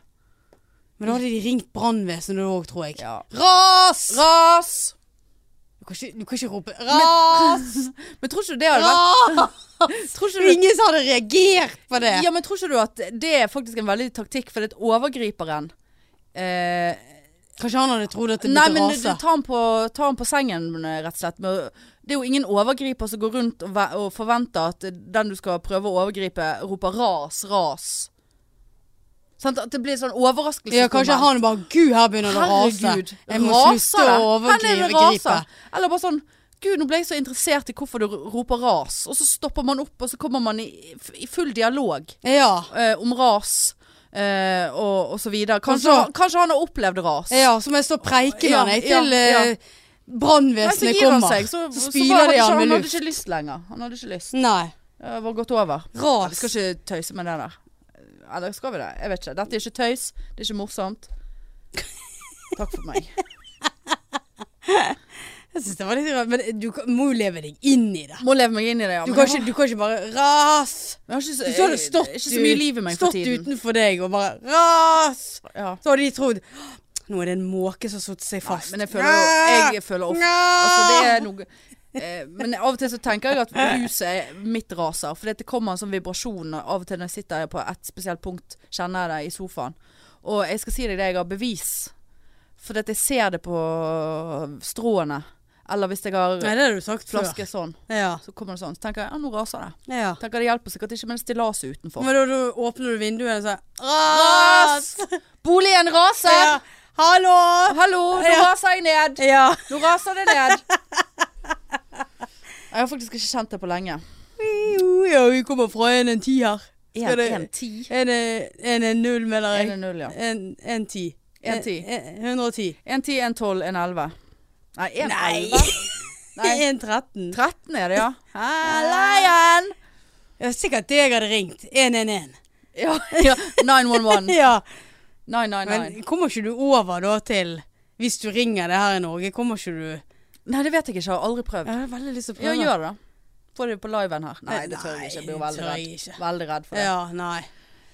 Speaker 2: Men da hadde de ringt brannvesenet òg, tror jeg.
Speaker 1: Ja.
Speaker 2: Ras!
Speaker 1: Ras!
Speaker 2: Du kan, ikke, du kan ikke rope Ras!
Speaker 1: Men tror ikke du det hadde vært
Speaker 2: Ras!
Speaker 1: tror ikke du,
Speaker 2: Ingen som hadde reagert på det.
Speaker 1: Ja, men tror ikke du at det er faktisk en veldig taktikk, for det er overgriperen eh,
Speaker 2: Kanskje han hadde trodd at det
Speaker 1: Nei,
Speaker 2: ble
Speaker 1: men du
Speaker 2: rase.
Speaker 1: tar han, på, tar han på sengen, eh, rett og slett. Med, å- det er jo ingen overgriper som går rundt og, ve- og forventer at den du skal prøve å overgripe, roper ras, ras. Sant? At det blir sånn overraskelse.
Speaker 2: Ja, kanskje han bare Gud, her begynner det å rase.
Speaker 1: Herregud,
Speaker 2: Jeg må
Speaker 1: raser
Speaker 2: slutte
Speaker 1: det?
Speaker 2: å
Speaker 1: Her er det
Speaker 2: overgripe.
Speaker 1: raser. Eller bare sånn Gud, nå ble jeg så interessert i hvorfor du roper ras. Og så stopper man opp, og så kommer man i, i full dialog
Speaker 2: Ja.
Speaker 1: eh, om ras eh, og, og så videre. Kanskje,
Speaker 2: Og så-
Speaker 1: kanskje han har opplevd ras.
Speaker 2: ja, så må jeg stå og preike med
Speaker 1: Ja,
Speaker 2: han jeg,
Speaker 1: ja,
Speaker 2: til eh,
Speaker 1: ja. Nei, så
Speaker 2: brannvesenet
Speaker 1: gir han
Speaker 2: kommer.
Speaker 1: seg. Så, så,
Speaker 2: spyler
Speaker 1: var det
Speaker 2: de
Speaker 1: ikke,
Speaker 2: han
Speaker 1: han
Speaker 2: med
Speaker 1: hadde
Speaker 2: luft.
Speaker 1: ikke lyst lenger. Han hadde ikke lyst.
Speaker 2: Nei.
Speaker 1: Det var gått over. Nei, Vi
Speaker 2: Ras.
Speaker 1: skal ikke tøyse med det der. Eller skal vi det? Jeg vet ikke. Dette er ikke tøys. Det er ikke morsomt. Takk for meg.
Speaker 2: Jeg synes det var litt rart, men du kan- må jo leve deg inn i det.
Speaker 1: Må leve meg inn i det, ja.
Speaker 2: Du
Speaker 1: Men
Speaker 2: kan
Speaker 1: jeg
Speaker 2: ikke, du kan ikke bare ras.
Speaker 1: har- jeg har ikke så,
Speaker 2: Hvis du hadde
Speaker 1: jeg-
Speaker 2: stått,
Speaker 1: det er ikke så mye
Speaker 2: ut-
Speaker 1: liv i meg for
Speaker 2: stått
Speaker 1: tiden.
Speaker 2: utenfor deg og bare ras,
Speaker 1: Ja.
Speaker 2: så hadde de trodd nå er det en måke som har satt seg fast.
Speaker 1: Men jeg føler, jo- jeg føler ofte altså, det er
Speaker 2: noe
Speaker 1: noe eh, men av og til så tenker jeg at huset er mitt raser. For det kommer en sånn vibrasjon og av og til når jeg sitter på et spesielt punkt, kjenner jeg det i sofaen. Og jeg skal si deg det, jeg har bevis. For at jeg ser det på stråene. Eller hvis jeg har
Speaker 2: Nei, det har du sagt
Speaker 1: flaske sånn,
Speaker 2: før. Ja.
Speaker 1: så kommer det sånn. Så tenker jeg ja, nå raser det.
Speaker 2: ja.
Speaker 1: Tenker Det hjelper sikkert ikke med det stillaset utenfor.
Speaker 2: Men da, da åpner du vinduet og sier
Speaker 1: Ras!
Speaker 2: ras!
Speaker 1: Boligen raser!
Speaker 2: Ja. Hallo!
Speaker 1: Hallo, nå
Speaker 2: Ja.
Speaker 1: raser jeg ned!
Speaker 2: Ja.
Speaker 1: Nå raser det ned. Jeg har faktisk ikke kjent det på lenge.
Speaker 2: Jo, ja, vi kommer fra en en ti her. Skal
Speaker 1: En,
Speaker 2: det-
Speaker 1: en ti.
Speaker 2: En en, en, en null, mener
Speaker 1: En
Speaker 2: jeg.
Speaker 1: en null, ja.
Speaker 2: En, en ti.
Speaker 1: En ti.
Speaker 2: En- en- 110.
Speaker 1: En ti, en tolv, en elleve. Nei, en
Speaker 2: Nei.
Speaker 1: elleve. Nei. Ah.
Speaker 2: En 13.
Speaker 1: 13 er det, ja.
Speaker 2: Halleien! Det er sikkert det jeg hadde ringt. 111.
Speaker 1: Ja, ja. 911.
Speaker 2: Ja.
Speaker 1: 999.
Speaker 2: Men kommer ikke du over da til Hvis du ringer det her i Norge, kommer ikke du Jeg
Speaker 1: Nei, det vet jeg ikke. Jeg har aldri prøvd.
Speaker 2: har veldig lyst til å
Speaker 1: Ja,
Speaker 2: Ja,
Speaker 1: gjør det, da. Få det på liven her. Nei, det tør jeg ikke. Jeg blir jo
Speaker 2: Nei,
Speaker 1: veldig
Speaker 2: tør jeg
Speaker 1: redd.
Speaker 2: ikke.
Speaker 1: Veldig redd for det.
Speaker 2: nei.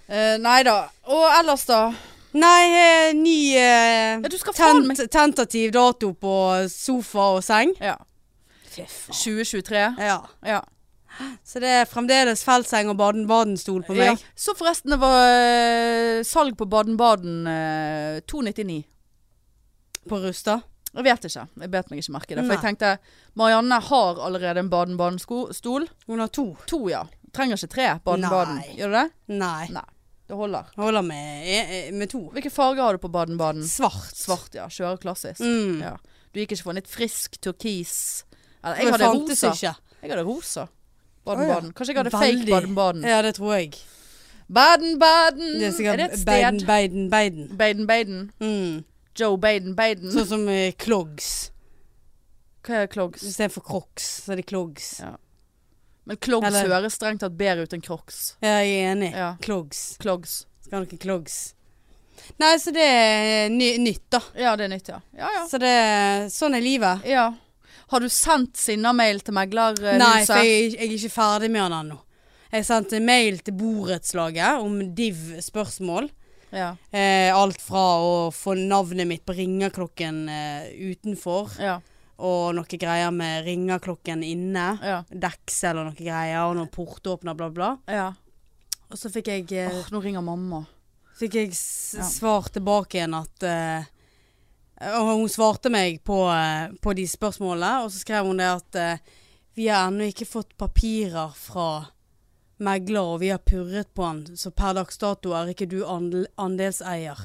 Speaker 1: Eh, nei da. Og ellers, da?
Speaker 2: Nei, eh, ny eh,
Speaker 1: Ja, du skal faen
Speaker 2: tent,
Speaker 1: meg
Speaker 2: tentativ dato på sofa og seng.
Speaker 1: Ja. 2023.
Speaker 2: Ja.
Speaker 1: Ja.
Speaker 2: Så det er fremdeles feltseng og baden badenstol på meg.
Speaker 1: Ja. Så forresten, det var eh, salg på Baden-Baden eh, 299.
Speaker 2: På Rustad.
Speaker 1: Jeg vet ikke. Jeg bet meg ikke merke i det. For jeg
Speaker 2: Nei.
Speaker 1: tenkte Marianne har allerede en Baden-Baden-stol.
Speaker 2: Hun har to.
Speaker 1: To, ja. Trenger ikke tre Baden-Baden.
Speaker 2: Nei.
Speaker 1: Gjør du det?
Speaker 2: Nei.
Speaker 1: Nei. Det holder.
Speaker 2: Holder med, eh, eh, med to.
Speaker 1: Hvilke farger har du på Baden-Baden?
Speaker 2: Svart.
Speaker 1: Mm. Svart, ja. Kjører klassisk.
Speaker 2: Mm.
Speaker 1: Ja. Du gikk ikke for en litt frisk turkis. Eller,
Speaker 2: Det
Speaker 1: jeg hadde
Speaker 2: fantes
Speaker 1: rosa.
Speaker 2: ikke.
Speaker 1: Jeg hadde rosa.
Speaker 2: Å,
Speaker 1: Baden-Baden.
Speaker 2: ja.
Speaker 1: Kanskje jeg hadde
Speaker 2: Veldig.
Speaker 1: fake Baden-Baden.
Speaker 2: Ja, det tror jeg.
Speaker 1: Baden-Baden!
Speaker 2: Det er
Speaker 1: Mm. Er,
Speaker 2: sikkert
Speaker 1: det et
Speaker 2: Biden,
Speaker 1: sted?
Speaker 2: Biden, Biden.
Speaker 1: Baden-Baden.
Speaker 2: Mm.
Speaker 1: Joe Baden-Baden.
Speaker 2: Sånn som eh, clogs.
Speaker 1: Hva er clogs?
Speaker 2: Istedenfor crocs, så er det clogs.
Speaker 1: Ja. Men clogs
Speaker 2: Eller-
Speaker 1: høres strengt tatt bedre ut enn crocs.
Speaker 2: Ja, jeg er enig.
Speaker 1: Ja.
Speaker 2: Clogs.
Speaker 1: Clogs.
Speaker 2: Skal ha noen clogs. Nei, så det er ny, nytt, da.
Speaker 1: Ja, det er nytt, ja. Ja, ja.
Speaker 2: Så det Sånn er livet.
Speaker 1: ja. Har du sendt Sinna-mail til eh, meglerhuset?
Speaker 2: Nei, for jeg, jeg er ikke ferdig med han ennå. Jeg sendte mail til borettslaget om div-spørsmål.
Speaker 1: Ja,
Speaker 2: Eh, alt fra å få navnet mitt på ringeklokken eh, utenfor,
Speaker 1: ja,
Speaker 2: og noe greier med ringeklokken inne.
Speaker 1: ja.
Speaker 2: deksel og noen greier, og noen portåpner, bla bla.
Speaker 1: ja.
Speaker 2: Og så fikk jeg, eh,
Speaker 1: Åh, nå ringer mamma.
Speaker 2: fikk jeg s-
Speaker 1: Ja.
Speaker 2: svar tilbake igjen at eh, Og hun svarte meg på, eh, på de spørsmålene, og så skrev hun det at eh, vi har ennå ikke fått papirer fra megler, og vi har purret på han, så per dags dato er ikke du andel andelseier.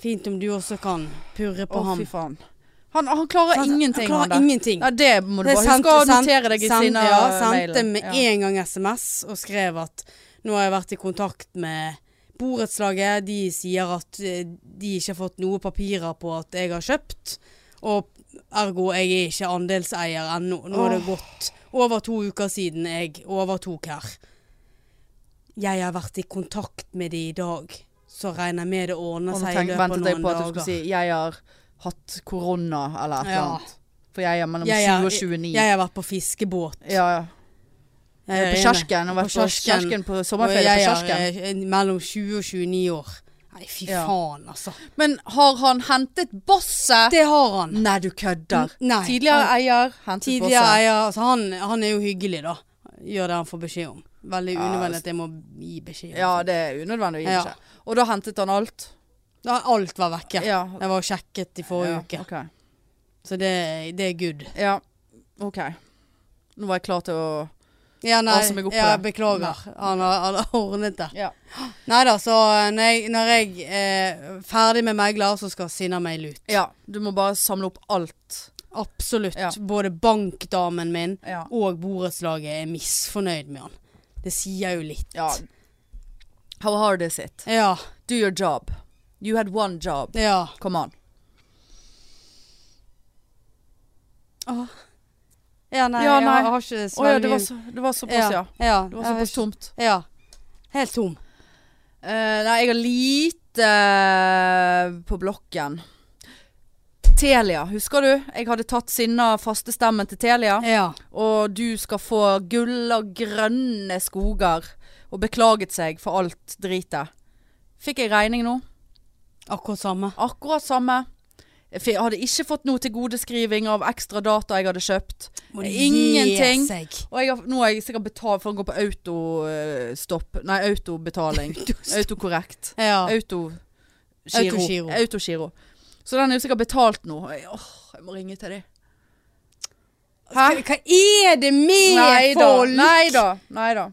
Speaker 2: Fint om du også kan purre på
Speaker 1: Å,
Speaker 2: ham.
Speaker 1: fy faen. Han, han klarer
Speaker 2: Sant?
Speaker 1: ingenting,
Speaker 2: Han klarer
Speaker 1: der.
Speaker 2: ingenting.
Speaker 1: Ja, det må du
Speaker 2: Det
Speaker 1: bare
Speaker 2: sendte-
Speaker 1: huske å
Speaker 2: sendte-
Speaker 1: notere deg i
Speaker 2: sendte-
Speaker 1: sinne.
Speaker 2: Ja,
Speaker 1: eh,
Speaker 2: sendte
Speaker 1: mailen.
Speaker 2: med
Speaker 1: Ja.
Speaker 2: en gang SMS og skrev at nå har jeg vært i kontakt med borettslaget. De sier at eh, de ikke har fått noe papirer på at jeg har kjøpt. Og ergo jeg er ikke andelseier ennå. Nå er det gått over to uker siden jeg overtok her. Jeg har vært i kontakt med de i dag, så regner jeg med det ordner
Speaker 1: Og nå
Speaker 2: seg i
Speaker 1: tenk,
Speaker 2: løpet av
Speaker 1: ventet jeg
Speaker 2: noen
Speaker 1: på at du skulle
Speaker 2: dager.
Speaker 1: si 'jeg har hatt korona' eller et eller
Speaker 2: Ja.
Speaker 1: annet. For jeg er mellom
Speaker 2: Jeg er-
Speaker 1: 20 og 29.
Speaker 2: Jeg har vært på fiskebåt.
Speaker 1: ja, Eh, ja.
Speaker 2: Jeg
Speaker 1: På
Speaker 2: er enig.
Speaker 1: kjersken. Og vært på
Speaker 2: På kiosken.
Speaker 1: kjersken på
Speaker 2: Og
Speaker 1: sommerferie på
Speaker 2: Jeg
Speaker 1: kjersken.
Speaker 2: er eh, mellom 20 og 29 år. Nei, fy
Speaker 1: Ja.
Speaker 2: faen, altså.
Speaker 1: Men har han hentet bosset?
Speaker 2: Det har han.
Speaker 1: Nei, du kødder.
Speaker 2: N- nei.
Speaker 1: Ah. Tidligere
Speaker 2: Han-
Speaker 1: eier hentet
Speaker 2: Tidligere
Speaker 1: bosset.
Speaker 2: eier altså han, han er jo hyggelig, da. Gjør det han får beskjed om. Veldig
Speaker 1: Ja,
Speaker 2: unødvendig at jeg må gi beskjed. om
Speaker 1: Ja,
Speaker 2: det.
Speaker 1: det er unødvendig å gi
Speaker 2: Ja.
Speaker 1: ikke. Og da hentet han alt?
Speaker 2: Da alt var vekke.
Speaker 1: Ja.
Speaker 2: Jeg var sjekket i forrige
Speaker 1: Ja,
Speaker 2: uke.
Speaker 1: ok.
Speaker 2: Så det, det er good.
Speaker 1: Ja, ok. Nå var jeg klar til å
Speaker 2: Ja, nei,
Speaker 1: Altså, meg opp på
Speaker 2: ja,
Speaker 1: det.
Speaker 2: beklager. Han har, han har ordnet det.
Speaker 1: Ja.
Speaker 2: Nei da, så eh, når jeg, når jeg er ferdig med megler, så skal Sinna meg lut.
Speaker 1: Du må bare samle opp alt.
Speaker 2: Absolutt.
Speaker 1: Ja.
Speaker 2: Både bankdamen min
Speaker 1: Ja.
Speaker 2: og borettslaget er misfornøyd med han. Det sier jo litt.
Speaker 1: ja. How hard is it?
Speaker 2: ja.
Speaker 1: Do your job. You had one job.
Speaker 2: ja.
Speaker 1: Come on.
Speaker 2: Ja, nei,
Speaker 1: Ja, nei.
Speaker 2: Jeg, har ikke så
Speaker 1: Å ja,
Speaker 2: veldig
Speaker 1: det var,
Speaker 2: mye-
Speaker 1: så, det var såpass, ja. Eh,
Speaker 2: ja.
Speaker 1: Det var
Speaker 2: jeg har
Speaker 1: såpass tomt.
Speaker 2: ikke- Ja. Helt tom.
Speaker 1: Eh, nei, jeg har lite eh, på blokken. Telia, husker du? Jeg hadde tatt sinna fastestemmen til Telia.
Speaker 2: Ja.
Speaker 1: Og du skal få gull og grønne skoger. Og beklaget seg for alt dritet. Fikk jeg regning nå?
Speaker 2: Akkurat samme.
Speaker 1: Akkurat samme. Jeg fi- hadde ikke fått noe tilgodeskriving av ekstra data jeg hadde kjøpt.
Speaker 2: Må det
Speaker 1: Ingenting.
Speaker 2: gi seg.
Speaker 1: Og jeg har, nå har jeg sikkert betalt for å gå på autostopp. Nei, autobetaling. Autokorrekt.
Speaker 2: Ja.
Speaker 1: Autogiro.
Speaker 2: Autogiro.
Speaker 1: Autogiro. Så den er jo sikkert betalt nå. Jeg, åh, jeg må ringe til dem.
Speaker 2: Hva hva er det med
Speaker 1: Nei da.
Speaker 2: folk?
Speaker 1: Nei da. Nei da.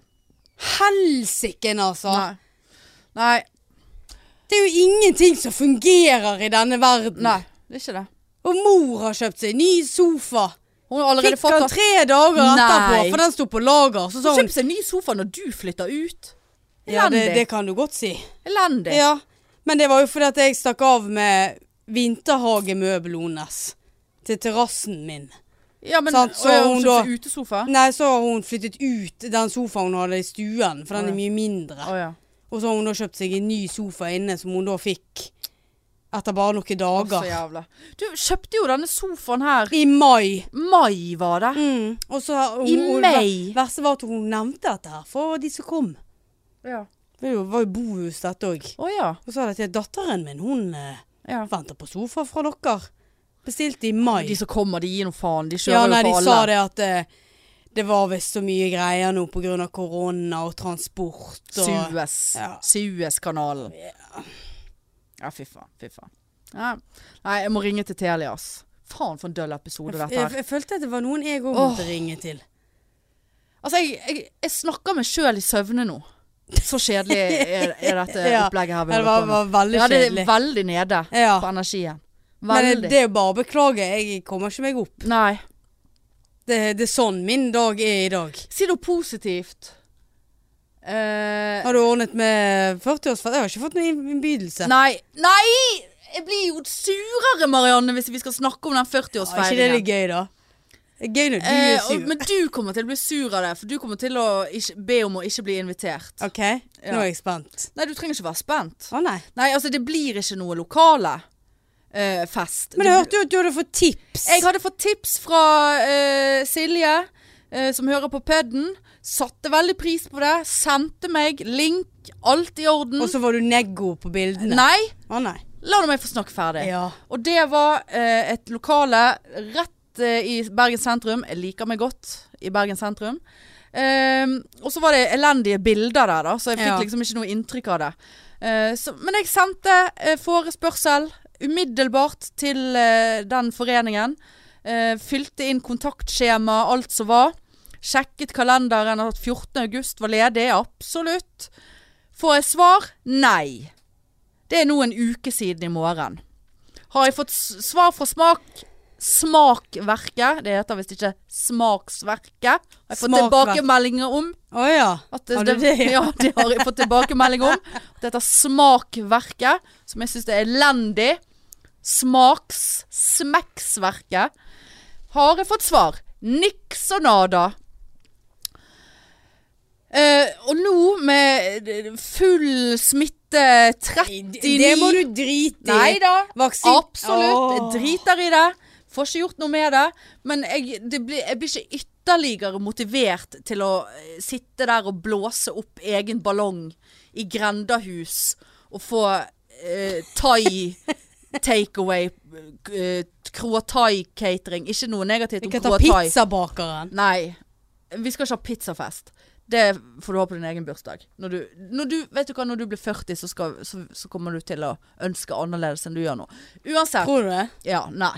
Speaker 2: Helsiken, altså.
Speaker 1: Nei. Nei.
Speaker 2: Det er jo ingenting som fungerer i denne verden.
Speaker 1: Nei. Det er ikke det.
Speaker 2: Og mor har kjøpt seg ny sofa.
Speaker 1: Hun har allerede
Speaker 2: Fikk
Speaker 1: fått
Speaker 2: han
Speaker 1: at-
Speaker 2: tre dager
Speaker 1: Nei.
Speaker 2: etterpå, for den sto på lager. Så sa
Speaker 1: Hun
Speaker 2: hun
Speaker 1: kjøpte seg ny sofa når du flytter ut.
Speaker 2: sånn- Ja,
Speaker 1: Elendig.
Speaker 2: det, det kan du godt si.
Speaker 1: Elendig.
Speaker 2: Ja, Men det var jo fordi at jeg stakk av med vinterhagemøbelen hennes til terrassen min.
Speaker 1: Ja, men
Speaker 2: Sant, så
Speaker 1: Å ja,
Speaker 2: hun
Speaker 1: hun
Speaker 2: da- Mm.
Speaker 1: kjøpte utesofa?
Speaker 2: Nei, så har hun flyttet ut den sofaen hun hadde i stuen, for den
Speaker 1: Å,
Speaker 2: er
Speaker 1: ja.
Speaker 2: mye
Speaker 1: Å
Speaker 2: mindre.
Speaker 1: ja.
Speaker 2: Og så har hun da kjøpt seg en ny sofa inne, som hun da fikk etter bare noen
Speaker 1: Å, så
Speaker 2: dager.
Speaker 1: jævla. Du kjøpte jo denne sofaen her.
Speaker 2: I mai.
Speaker 1: Mai var det.
Speaker 2: Mm. Og så har hun,
Speaker 1: I
Speaker 2: hun-
Speaker 1: mai?
Speaker 2: Verste var at hun nevnte dette her for de som kom.
Speaker 1: Ja.
Speaker 2: Det var jo bohus, dette òg.
Speaker 1: Å ja.
Speaker 2: Og så hadde jeg til datteren min, hun eh,
Speaker 1: ja.
Speaker 2: venter på sofa fra dere. Bestilte i mai.
Speaker 1: De som kommer, de gir noe faen. De kjører
Speaker 2: ja, nei,
Speaker 1: jo
Speaker 2: de
Speaker 1: for
Speaker 2: sa
Speaker 1: alle.
Speaker 2: det at eh, det var visst så mye greier nå pga. korona og transport og
Speaker 1: Suez.
Speaker 2: Ja.
Speaker 1: Suezkanalen. Ja, fy faen. Fy faen. Ja. Nei, jeg må ringe til Telia, ass. Faen for en døll episode
Speaker 2: Jeg,
Speaker 1: dette
Speaker 2: jeg,
Speaker 1: her.
Speaker 2: jeg følte at det var noen jeg òg
Speaker 1: Åh.
Speaker 2: måtte ringe til.
Speaker 1: Altså, jeg, jeg, jeg snakker meg sjøl i søvne nå. Så kjedelig er, er dette
Speaker 2: Ja.
Speaker 1: opplegget her vi
Speaker 2: Ja, det var,
Speaker 1: holder på med.
Speaker 2: var veldig
Speaker 1: Ja, det er
Speaker 2: kjedelig.
Speaker 1: veldig nede
Speaker 2: Ja.
Speaker 1: på energien.
Speaker 2: Men
Speaker 1: Veldig.
Speaker 2: det, det er jo bare å beklage, jeg kommer ikke meg opp.
Speaker 1: Nei.
Speaker 2: Det, det er sånn min dag er i dag.
Speaker 1: Si noe positivt. Eh,
Speaker 2: Har du ordnet med 40-årsfest? Jeg har ikke fått noen innbydelse.
Speaker 1: nei. Nei! Jeg blir jo surere, Marianne, hvis vi skal snakke om den
Speaker 2: Ja, er ikke det
Speaker 1: 40-årsfeiringen.
Speaker 2: litt gøy, da? Det er Gøy når du
Speaker 1: Eh,
Speaker 2: er
Speaker 1: og,
Speaker 2: sur.
Speaker 1: men du kommer til å bli sur av det, for du kommer til å ikke, be om å ikke bli invitert.
Speaker 2: OK, nå er jeg spent.
Speaker 1: Nei, du trenger ikke være spent.
Speaker 2: Å nei.
Speaker 1: Nei, altså det blir ikke noe lokale eh, fest.
Speaker 2: Men
Speaker 1: Det
Speaker 2: jeg
Speaker 1: blir-
Speaker 2: hørte jo at du hadde fått tips.
Speaker 1: Jeg hadde fått tips fra eh, Silje, eh, som hører på pudden. Satte veldig pris på det. Sendte meg link. Alt i orden.
Speaker 2: Og så var du neggo på bildene.
Speaker 1: Nei,
Speaker 2: Å nei.
Speaker 1: la nå meg få snakke ferdig.
Speaker 2: Ja.
Speaker 1: Og det var eh, et lokale rett eh, i Bergen sentrum. Jeg liker meg godt i Bergen sentrum. Ehm, og så var det elendige bilder der, da, så jeg fikk
Speaker 2: Ja.
Speaker 1: liksom ikke noe inntrykk av det. Eh, så, men jeg sendte eh, forespørsel umiddelbart til eh, den foreningen. Eh, fylte inn kontaktskjema, alt som var. Sjekket kalenderen at 14. august var ledig. Absolutt. Får jeg svar? Nei. Det er nå en uke siden i morgen. Har jeg fått s- svar fra smak... Smakverket. Det heter visst ikke Smaksverket. Har jeg fått
Speaker 2: Smakverk.
Speaker 1: tilbakemeldinger om.
Speaker 2: Å ja.
Speaker 1: At det,
Speaker 2: Har du
Speaker 1: det,
Speaker 2: det?
Speaker 1: ja, det har jeg fått tilbakemelding om. At dette smakverket, som jeg syns er elendig, smaks... smekksverket, har jeg fått svar. Niks og nada. Eh, og nå med full smitte 39
Speaker 2: Det må du drite i.
Speaker 1: Nei da.
Speaker 2: Vaksin-
Speaker 1: Absolutt. Jeg
Speaker 2: Åh.
Speaker 1: driter i det. Får ikke gjort noe med det. Men jeg, det blir, jeg blir ikke ytterligere motivert til å eh, sitte der og blåse opp egen ballong i grendahus og få eh, thai takeaway. Eh, Kroatai-catering. Ikke noe negativt
Speaker 2: Vi
Speaker 1: om
Speaker 2: kan ta
Speaker 1: kroatai.
Speaker 2: pizzabakeren.
Speaker 1: Nei. Vi skal ikke ha pizzafest. Det får du ha på din egen bursdag. Når du, når du, vet du hva, når du blir 40, så, skal, så, så kommer du til å ønske annerledes enn du gjør nå. Uansett.
Speaker 2: Tror du det?
Speaker 1: Ja, nei.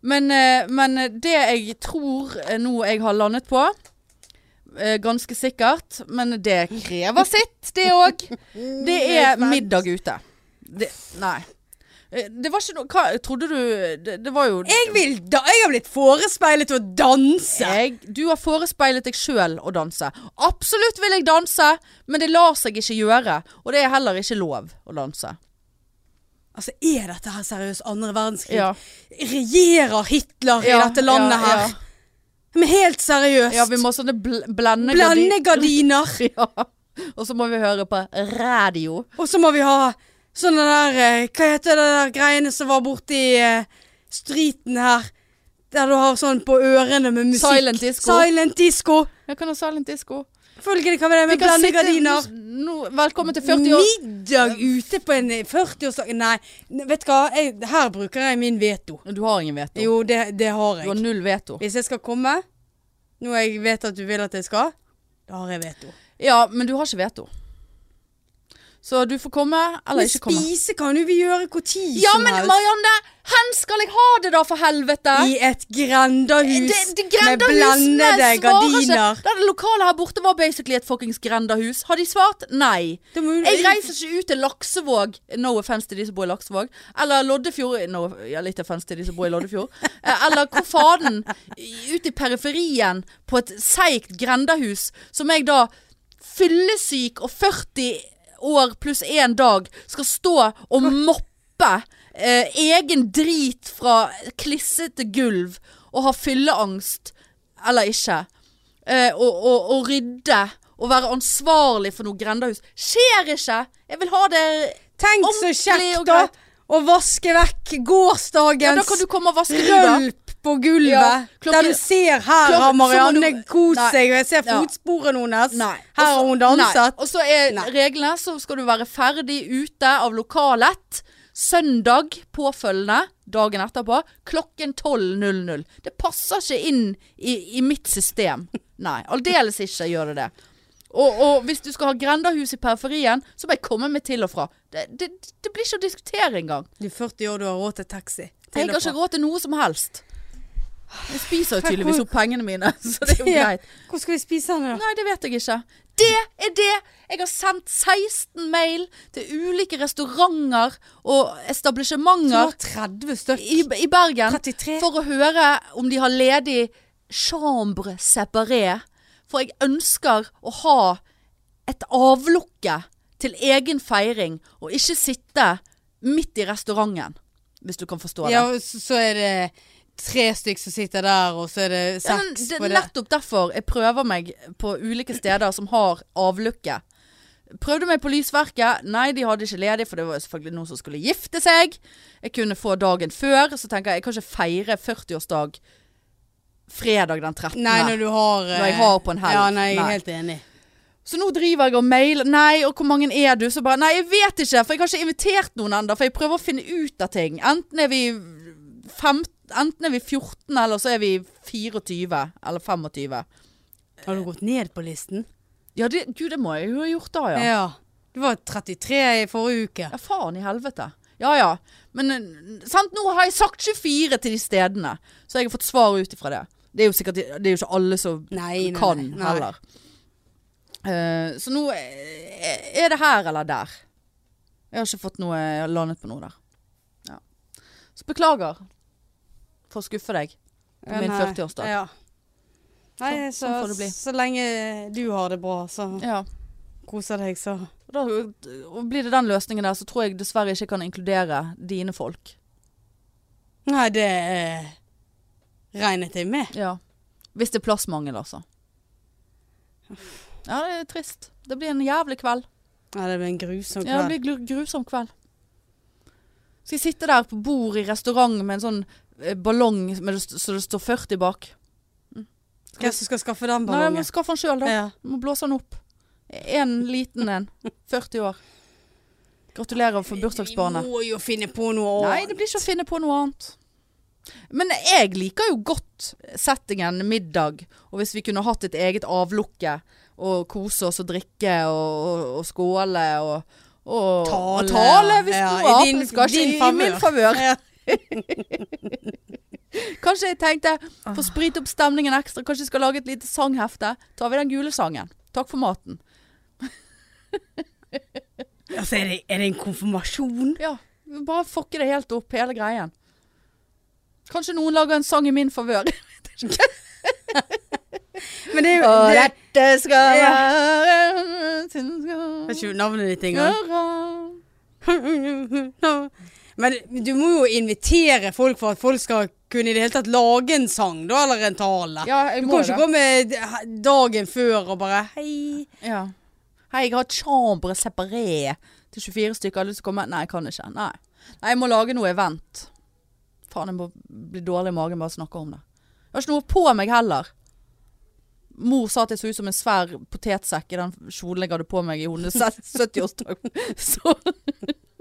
Speaker 1: Men, eh, men det jeg tror eh, nå jeg har landet på, eh, ganske sikkert, men det krever sitt, det òg. Det er
Speaker 2: Mm,
Speaker 1: middag ute. Det, nei. Eh, Det var ikke noe Hva trodde du Det, det var jo
Speaker 2: Jeg vil da Jeg har blitt forespeilet å danse.
Speaker 1: jeg, du har forespeilet deg sjøl å danse. Absolutt vil jeg danse, men det lar seg ikke gjøre. Og det er heller ikke lov å danse.
Speaker 2: Altså, er dette her seriøst andre verdenskrig?
Speaker 1: Ja.
Speaker 2: Regjerer Hitler i
Speaker 1: Ja,
Speaker 2: dette landet
Speaker 1: ja, ja.
Speaker 2: her? Men helt seriøst.
Speaker 1: Ja, vi må ha sånne bl blende
Speaker 2: Blandegardiner.
Speaker 1: Ja. Og så må vi høre på radio.
Speaker 2: Og så må vi ha sånne der eh, Hva heter det der greiene som var borti eh, streeten her? Der du har sånn på ørene med musikk.
Speaker 1: Silent disco.
Speaker 2: Silent disco.
Speaker 1: Jeg kan ha silent disco.
Speaker 2: Følgelig kan vi det
Speaker 1: Vi
Speaker 2: med
Speaker 1: kan sitte-
Speaker 2: blandegardiner.
Speaker 1: Nå, velkommen til 40 år.
Speaker 2: Middag ute på en 40-årsdag Nei, vet du hva? Jeg, her bruker jeg min veto.
Speaker 1: Du har ingen veto.
Speaker 2: Jo, det, det har
Speaker 1: Du har
Speaker 2: jeg.
Speaker 1: null veto.
Speaker 2: Hvis jeg skal komme, noe jeg vet at du vil at jeg skal, da har jeg veto.
Speaker 1: Ja, men du har ikke veto. Så du får komme, eller
Speaker 2: Men
Speaker 1: ikke komme.
Speaker 2: spise kan jo vi gjøre hvor tid
Speaker 1: Ja,
Speaker 2: som
Speaker 1: men
Speaker 2: helst.
Speaker 1: Marianne! Hen skal jeg ha det, da, for helvete?
Speaker 2: I et grendahus
Speaker 1: det, det grendahusene
Speaker 2: med blandede
Speaker 1: svarer
Speaker 2: gardiner.
Speaker 1: Ikke. Da Det lokalet her borte var basically et fuckings grendahus. Har de svart? Nei.
Speaker 2: Det må jo-
Speaker 1: Jeg reiser ikke ut til Laksevåg, no offense til de som bor i Laksevåg, eller Loddefjord, no, ja, litt offense til de som bor i Loddefjord, eh, eller hvor faden, i- ut i periferien på et seigt grendahus, som jeg da fyllesyk og 40 år pluss én dag skal stå og moppe eh, egen drit fra klissete gulv og ha fylleangst, eller ikke eh, og, og, og rydde og være ansvarlig for noe grendehus. Skjer ikke! Jeg vil ha det
Speaker 2: Tenk så
Speaker 1: Ordentlig og
Speaker 2: kjekt, da!
Speaker 1: greit.
Speaker 2: Å vaske vekk
Speaker 1: ja, Da kan
Speaker 2: gårsdagens
Speaker 1: du komme og vaske du, da.
Speaker 2: rølp på gulvet.
Speaker 1: Ja, klokken-
Speaker 2: der du ser her
Speaker 1: Klokken-
Speaker 2: har
Speaker 1: så
Speaker 2: Marianne
Speaker 1: må du-
Speaker 2: kost
Speaker 1: Nei.
Speaker 2: seg, og jeg ser
Speaker 1: Ja.
Speaker 2: fotsporene hennes.
Speaker 1: Nei.
Speaker 2: Her har
Speaker 1: Også-
Speaker 2: hun danset.
Speaker 1: Nei. Og så er
Speaker 2: Nei.
Speaker 1: reglene så skal du være ferdig ute av lokalet søndag påfølgende dagen etterpå klokken 12.00. Det passer ikke inn i, i mitt system. Nei, aldeles ikke gjør det det. Og, og hvis du skal ha grendahus i periferien, så må jeg komme meg til og fra. Det, det, det blir ikke å diskutere engang.
Speaker 2: Du er 40 år, du har råd til taxi.
Speaker 1: Jeg har ikke råd til noe som helst. Jeg spiser jo
Speaker 2: Hva-
Speaker 1: tydeligvis opp pengene mine, så det er jo
Speaker 2: Ja.
Speaker 1: greit.
Speaker 2: Hvor skal vi spise den, da?
Speaker 1: Nei, det vet jeg ikke. Det er det! Jeg har sendt 16 mail til ulike restauranter og
Speaker 2: Du har
Speaker 1: establissementer
Speaker 2: 30 stykk.
Speaker 1: i, i Bergen
Speaker 2: 33.
Speaker 1: for å høre om de har ledig chambre separé. For jeg ønsker å ha et avlukke til egen feiring, og ikke sitte midt i restauranten. Hvis du kan forstå det.
Speaker 2: Ja, og så så er det tre stykk som sitter der, og så er det
Speaker 1: Ja, men
Speaker 2: seks
Speaker 1: det
Speaker 2: på
Speaker 1: er
Speaker 2: det.
Speaker 1: nettopp derfor jeg prøver meg på ulike steder som har avlukke. Prøvde meg på Lysverket. Nei, de hadde ikke ledig, for det var jo selvfølgelig noen som skulle gifte seg. Jeg kunne få dagen før. Så tenker jeg jeg kan ikke feire 40-årsdag fredag den 13.
Speaker 2: Nei, når du har
Speaker 1: Når jeg
Speaker 2: eh,
Speaker 1: har på en helg.
Speaker 2: Ja, nei, jeg
Speaker 1: Nei.
Speaker 2: er helt enig.
Speaker 1: Så nå driver jeg og mailer. Nei, og hvor mange er du? Så bare Nei, jeg vet ikke, for jeg har ikke invitert noen ennå. For jeg prøver å finne ut av ting. Enten er vi, fem, enten er vi 14, eller så er vi 24. Eller 25.
Speaker 2: Har du gått ned på listen?
Speaker 1: Ja, det, gud, det må jeg jo ha gjort da, ja.
Speaker 2: Ja. Du var 33 i forrige uke.
Speaker 1: Ja, faen i helvete. Ja, ja. Men eh, sant, nå har jeg sagt 24 til de stedene, så jeg har fått svar ut ifra det. Det er jo sikkert Det er jo ikke alle som
Speaker 2: Nei, nei,
Speaker 1: kan
Speaker 2: nei, nei.
Speaker 1: heller. Eh, så nå eh, er det her eller der. Jeg har ikke fått noe Jeg har landet på noe der. Ja. Så beklager for å skuffe deg. På min
Speaker 2: Nei.
Speaker 1: 40-årsdag.
Speaker 2: Ja. Nei,
Speaker 1: Sånn-
Speaker 2: så,
Speaker 1: sånn får det bli.
Speaker 2: så lenge du har det bra, så
Speaker 1: Ja.
Speaker 2: koser deg, så
Speaker 1: Og Da, og blir det den løsningen der, så tror jeg dessverre ikke jeg kan inkludere dine folk.
Speaker 2: Nei, det eh, regnet jeg med.
Speaker 1: Ja. Hvis det er plassmangel, altså. Ja, det er trist. Det blir en jævlig kveld.
Speaker 2: Nei, det blir en grusom
Speaker 1: Ja, det
Speaker 2: kveld.
Speaker 1: blir gru- grusom kveld. Skal jeg sitte der på bord i restaurant med en sånn eh, ballong med det, st- så det står 40 bak?
Speaker 2: Hvem som skal skaffe den
Speaker 1: Nei, jeg må
Speaker 2: ballongen?
Speaker 1: skaffe den sjøl, da.
Speaker 2: Ja.
Speaker 1: Jeg må blåse den opp. En liten en. 40 år. Gratulerer for bursdagsbarnet.
Speaker 2: Vi må jo finne på noe
Speaker 1: Nei,
Speaker 2: annet.
Speaker 1: det blir ikke å finne på noe annet. Men jeg liker jo godt settingen middag, og hvis vi kunne hatt et eget avlukke og kose oss og drikke og, og, og skåle og, og
Speaker 2: Tale.
Speaker 1: Og tale hvis
Speaker 2: Ja,
Speaker 1: noe
Speaker 2: i din-
Speaker 1: annet skal ikke
Speaker 2: din
Speaker 1: i, i min favør.
Speaker 2: Ja.
Speaker 1: Kanskje jeg tenkte,
Speaker 2: Ah.
Speaker 1: for å sprite opp stemningen ekstra, kanskje jeg skal lage et lite sanghefte. Tar vi den gule sangen. Takk for maten.
Speaker 2: Altså, er det, er det en konfirmasjon?
Speaker 1: Ja, bare fucke det helt opp, hele greien. Kanskje noen lager en sang i min favør.
Speaker 2: Men det er jo det,
Speaker 1: dette skal
Speaker 2: Ja.
Speaker 1: være
Speaker 2: Vet ikke navnet ditt engang.
Speaker 1: Nei,
Speaker 2: Men du må jo invitere folk for at folk skal kunne i det hele tatt lage en sang, da, eller en tale.
Speaker 1: Ja, jeg
Speaker 2: du
Speaker 1: må
Speaker 2: kan ikke
Speaker 1: det.
Speaker 2: komme d- dagen før og bare Hei.
Speaker 1: ja. Hei, jeg har chambre separé til 24 stykker. Har du lyst til å komme? Nei, jeg kan ikke. Nei. Nei, jeg må lage noe event. Faen, jeg må bli dårlig i magen bare av å snakke om det. Jeg har ikke noe på meg heller. Mor sa at jeg så ut som en svær potetsekk i den kjolen jeg hadde på meg i hennes 70-årsdag. Så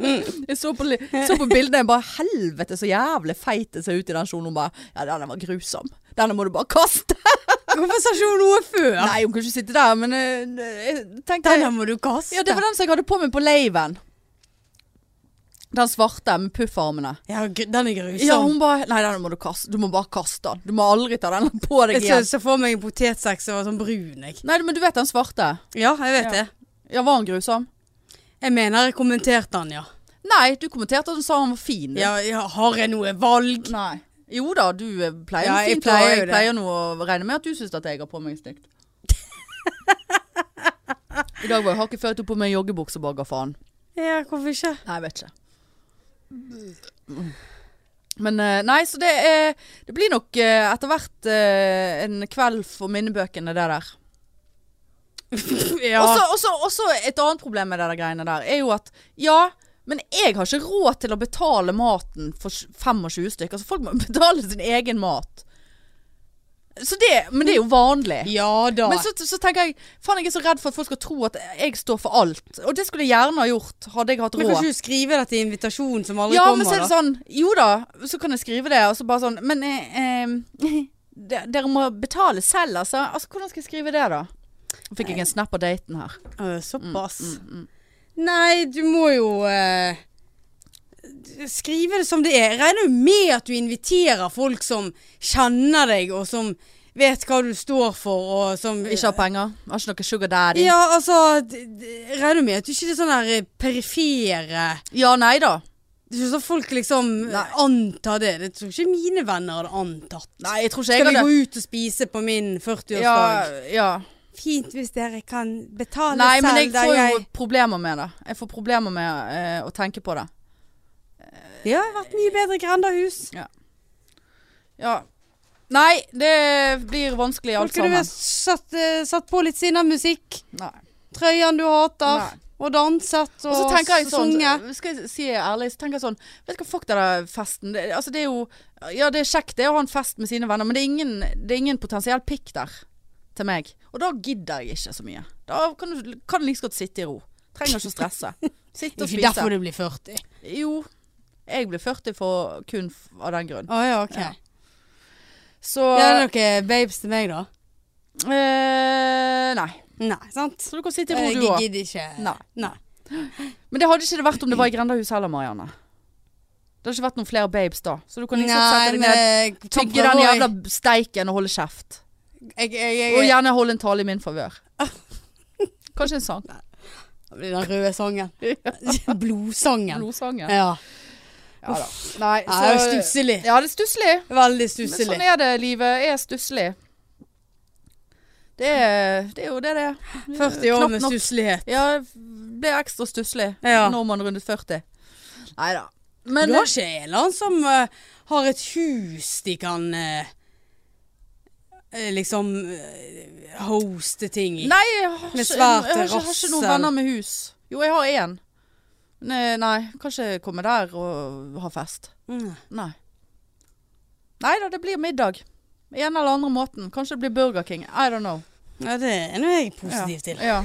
Speaker 1: jeg så på, li- så på bildene jeg bare Helvete, så jævlig feit jeg ser ut i den kjolen. Hun bare Ja, den var grusom. Denne må du bare kaste.
Speaker 2: Hvorfor sa ikke hun noe før?
Speaker 1: Nei, hun kan ikke sitte der, men eh, jeg tenkte
Speaker 2: Denne må du kaste.
Speaker 1: Ja, det var den som jeg hadde på meg på laven. Den svarte med puffarmene.
Speaker 2: Ja, gr- den er grusom.
Speaker 1: Ja, hun bare Nei, den må du kaste. Du må bare kaste den. Du må aldri ta den på deg
Speaker 2: jeg så,
Speaker 1: igjen.
Speaker 2: så for meg en potetsekk som var sånn brun. Jeg.
Speaker 1: Nei, men du vet den svarte?
Speaker 2: Ja, jeg vet
Speaker 1: Ja.
Speaker 2: det.
Speaker 1: Ja, var han grusom?
Speaker 2: Jeg mener jeg kommenterte den, ja.
Speaker 1: Nei, du kommenterte at du sa han var fin. du.
Speaker 2: ja. ja. Har jeg noe valg?
Speaker 1: Nei. Jo da, du eh, pleier
Speaker 2: Ja,
Speaker 1: noe
Speaker 2: jeg
Speaker 1: fint,
Speaker 2: pleier
Speaker 1: og
Speaker 2: jo
Speaker 1: jeg
Speaker 2: det.
Speaker 1: pleier nå å regne med at du syns at jeg har på meg stygt. I dag var jeg hakket før jeg tok på meg joggebukse og bare ga faen.
Speaker 2: Ja, hvorfor ikke?
Speaker 1: Nei, jeg vet ikke. Men eh, nei, så det, er, det blir nok eh, etter hvert eh, en kveld for minnebøkene, det der.
Speaker 2: ja.
Speaker 1: Også, også, også et annet problem med det der greiene der, er jo at ja, men jeg har ikke råd til å betale maten for sj- 25 stykker, så folk må betale sin egen mat. Så det, men det er jo vanlig.
Speaker 2: ja da.
Speaker 1: Men så, så tenker jeg, faen jeg er så redd for at folk skal tro at jeg står for alt. Og det skulle jeg gjerne ha gjort, hadde jeg hatt
Speaker 2: Men
Speaker 1: råd.
Speaker 2: kan ikke du skrive dette i invitasjonen som aldri
Speaker 1: Ja,
Speaker 2: kommer?
Speaker 1: men så er det
Speaker 2: da?
Speaker 1: sånn Jo da, så kan jeg skrive det, og så bare sånn Men eh, eh, de- dere må betale selv, altså. altså. Hvordan skal jeg skrive det, da? Nå fikk jeg en snap av daten her.
Speaker 2: Øh,
Speaker 1: Mm,
Speaker 2: såpass. Nei, du må jo eh, skrive det som det er. Jeg regner jo med at du inviterer folk som kjenner deg, og som vet hva du står for, og som
Speaker 1: Ikke har penger. Har ikke noe sugar daddy. Ja,
Speaker 2: Ja, altså d- d- jeg Regner jo med at du ikke er sånn der eh, perifere
Speaker 1: nei da.
Speaker 2: Det er ikke sånn at folk liksom
Speaker 1: Nei.
Speaker 2: antar det. Jeg tror ikke mine venner hadde antatt.
Speaker 1: Nei, jeg tror ikke
Speaker 2: Skal
Speaker 1: jeg
Speaker 2: vi
Speaker 1: hadde
Speaker 2: gå ut og spise på min 40-årsdag?
Speaker 1: ja, ja.
Speaker 2: Fint hvis dere kan betale
Speaker 1: Nei, men jeg
Speaker 2: selv. da
Speaker 1: får jo problemer med det. Jeg får problemer med eh, å tenke på det.
Speaker 2: Det har vært mye bedre grendahus.
Speaker 1: Ja. Nei, det blir vanskelig alt
Speaker 2: Skulle du ha
Speaker 1: sammen.
Speaker 2: satt, eh, satt på litt sinnamusikk,
Speaker 1: Nei.
Speaker 2: trøyen du hater,
Speaker 1: Nei.
Speaker 2: og danset og,
Speaker 1: Og så tenker jeg sånn,
Speaker 2: sunget?
Speaker 1: skal jeg si ærlig, så tenker jeg sånn Vet du hva, fuck det der festen. Det, altså det er jo Ja, det er kjekt det å ha en fest med sine venner, men det er ingen, det er ingen potensiell pikk der til meg. Og da gidder jeg ikke så mye. Da kan du kan du like så godt sitte i ro. Trenger ikke å stresse. Sitte og
Speaker 2: Ikke
Speaker 1: spise.
Speaker 2: derfor du blir 40.
Speaker 1: Jo. Jeg ble 40 for, kun f- av den grunn.
Speaker 2: Å ja, ok.
Speaker 1: Ja.
Speaker 2: Ja.
Speaker 1: Så
Speaker 2: Er det noen babes til meg, da?
Speaker 1: eh, Nei.
Speaker 2: Nei, sant?
Speaker 1: Så du kan sitte i
Speaker 2: Eh, Jeg
Speaker 1: ro, du òg.
Speaker 2: gidder ikke.
Speaker 1: Nei.
Speaker 2: Nei.
Speaker 1: Men det hadde ikke det vært om det var i Grendahus heller, Marianne. Det hadde ikke vært noen flere babes da. Så du kan liksom sette deg ned
Speaker 2: men eh,
Speaker 1: Tygge den jævla steiken og holde kjeft.
Speaker 2: jeg, jeg, jeg,
Speaker 1: Og gjerne holde en tale i min favør. Kanskje en sang.
Speaker 2: Den røde sangen. Blodsangen.
Speaker 1: Blodsangen.
Speaker 2: Ja.
Speaker 1: Ja da. Nei,
Speaker 2: Ja, det er stusselig.
Speaker 1: Ja, det er stusslig.
Speaker 2: Veldig
Speaker 1: Men sånn
Speaker 2: stusselig.
Speaker 1: er det, livet er stusslig. Det er, det er jo det det er.
Speaker 2: 40 år
Speaker 1: Knapt
Speaker 2: med
Speaker 1: nok.
Speaker 2: stusslighet.
Speaker 1: Ja, ble ekstra stusslig
Speaker 2: Ja.
Speaker 1: når man rundet 40. Nei da.
Speaker 2: Du
Speaker 1: Men
Speaker 2: har ikke en eller annen som eh, har et hus de kan eh, eh, liksom eh, hoste ting i?
Speaker 1: Nei, jeg har,
Speaker 2: Med
Speaker 1: ikke, jeg
Speaker 2: svær
Speaker 1: har, ikke, jeg har ikke noen
Speaker 2: terrasse.
Speaker 1: venner med hus. Jo, jeg har én. Nei, nei, kan ikke komme der og ha fest.
Speaker 2: Mm.
Speaker 1: Nei. Nei da, det blir middag. En eller andre måten. Kanskje det blir Burger King. I don't know.
Speaker 2: Ja, det er noe jeg er positiv
Speaker 1: ja.
Speaker 2: til.
Speaker 1: Ja.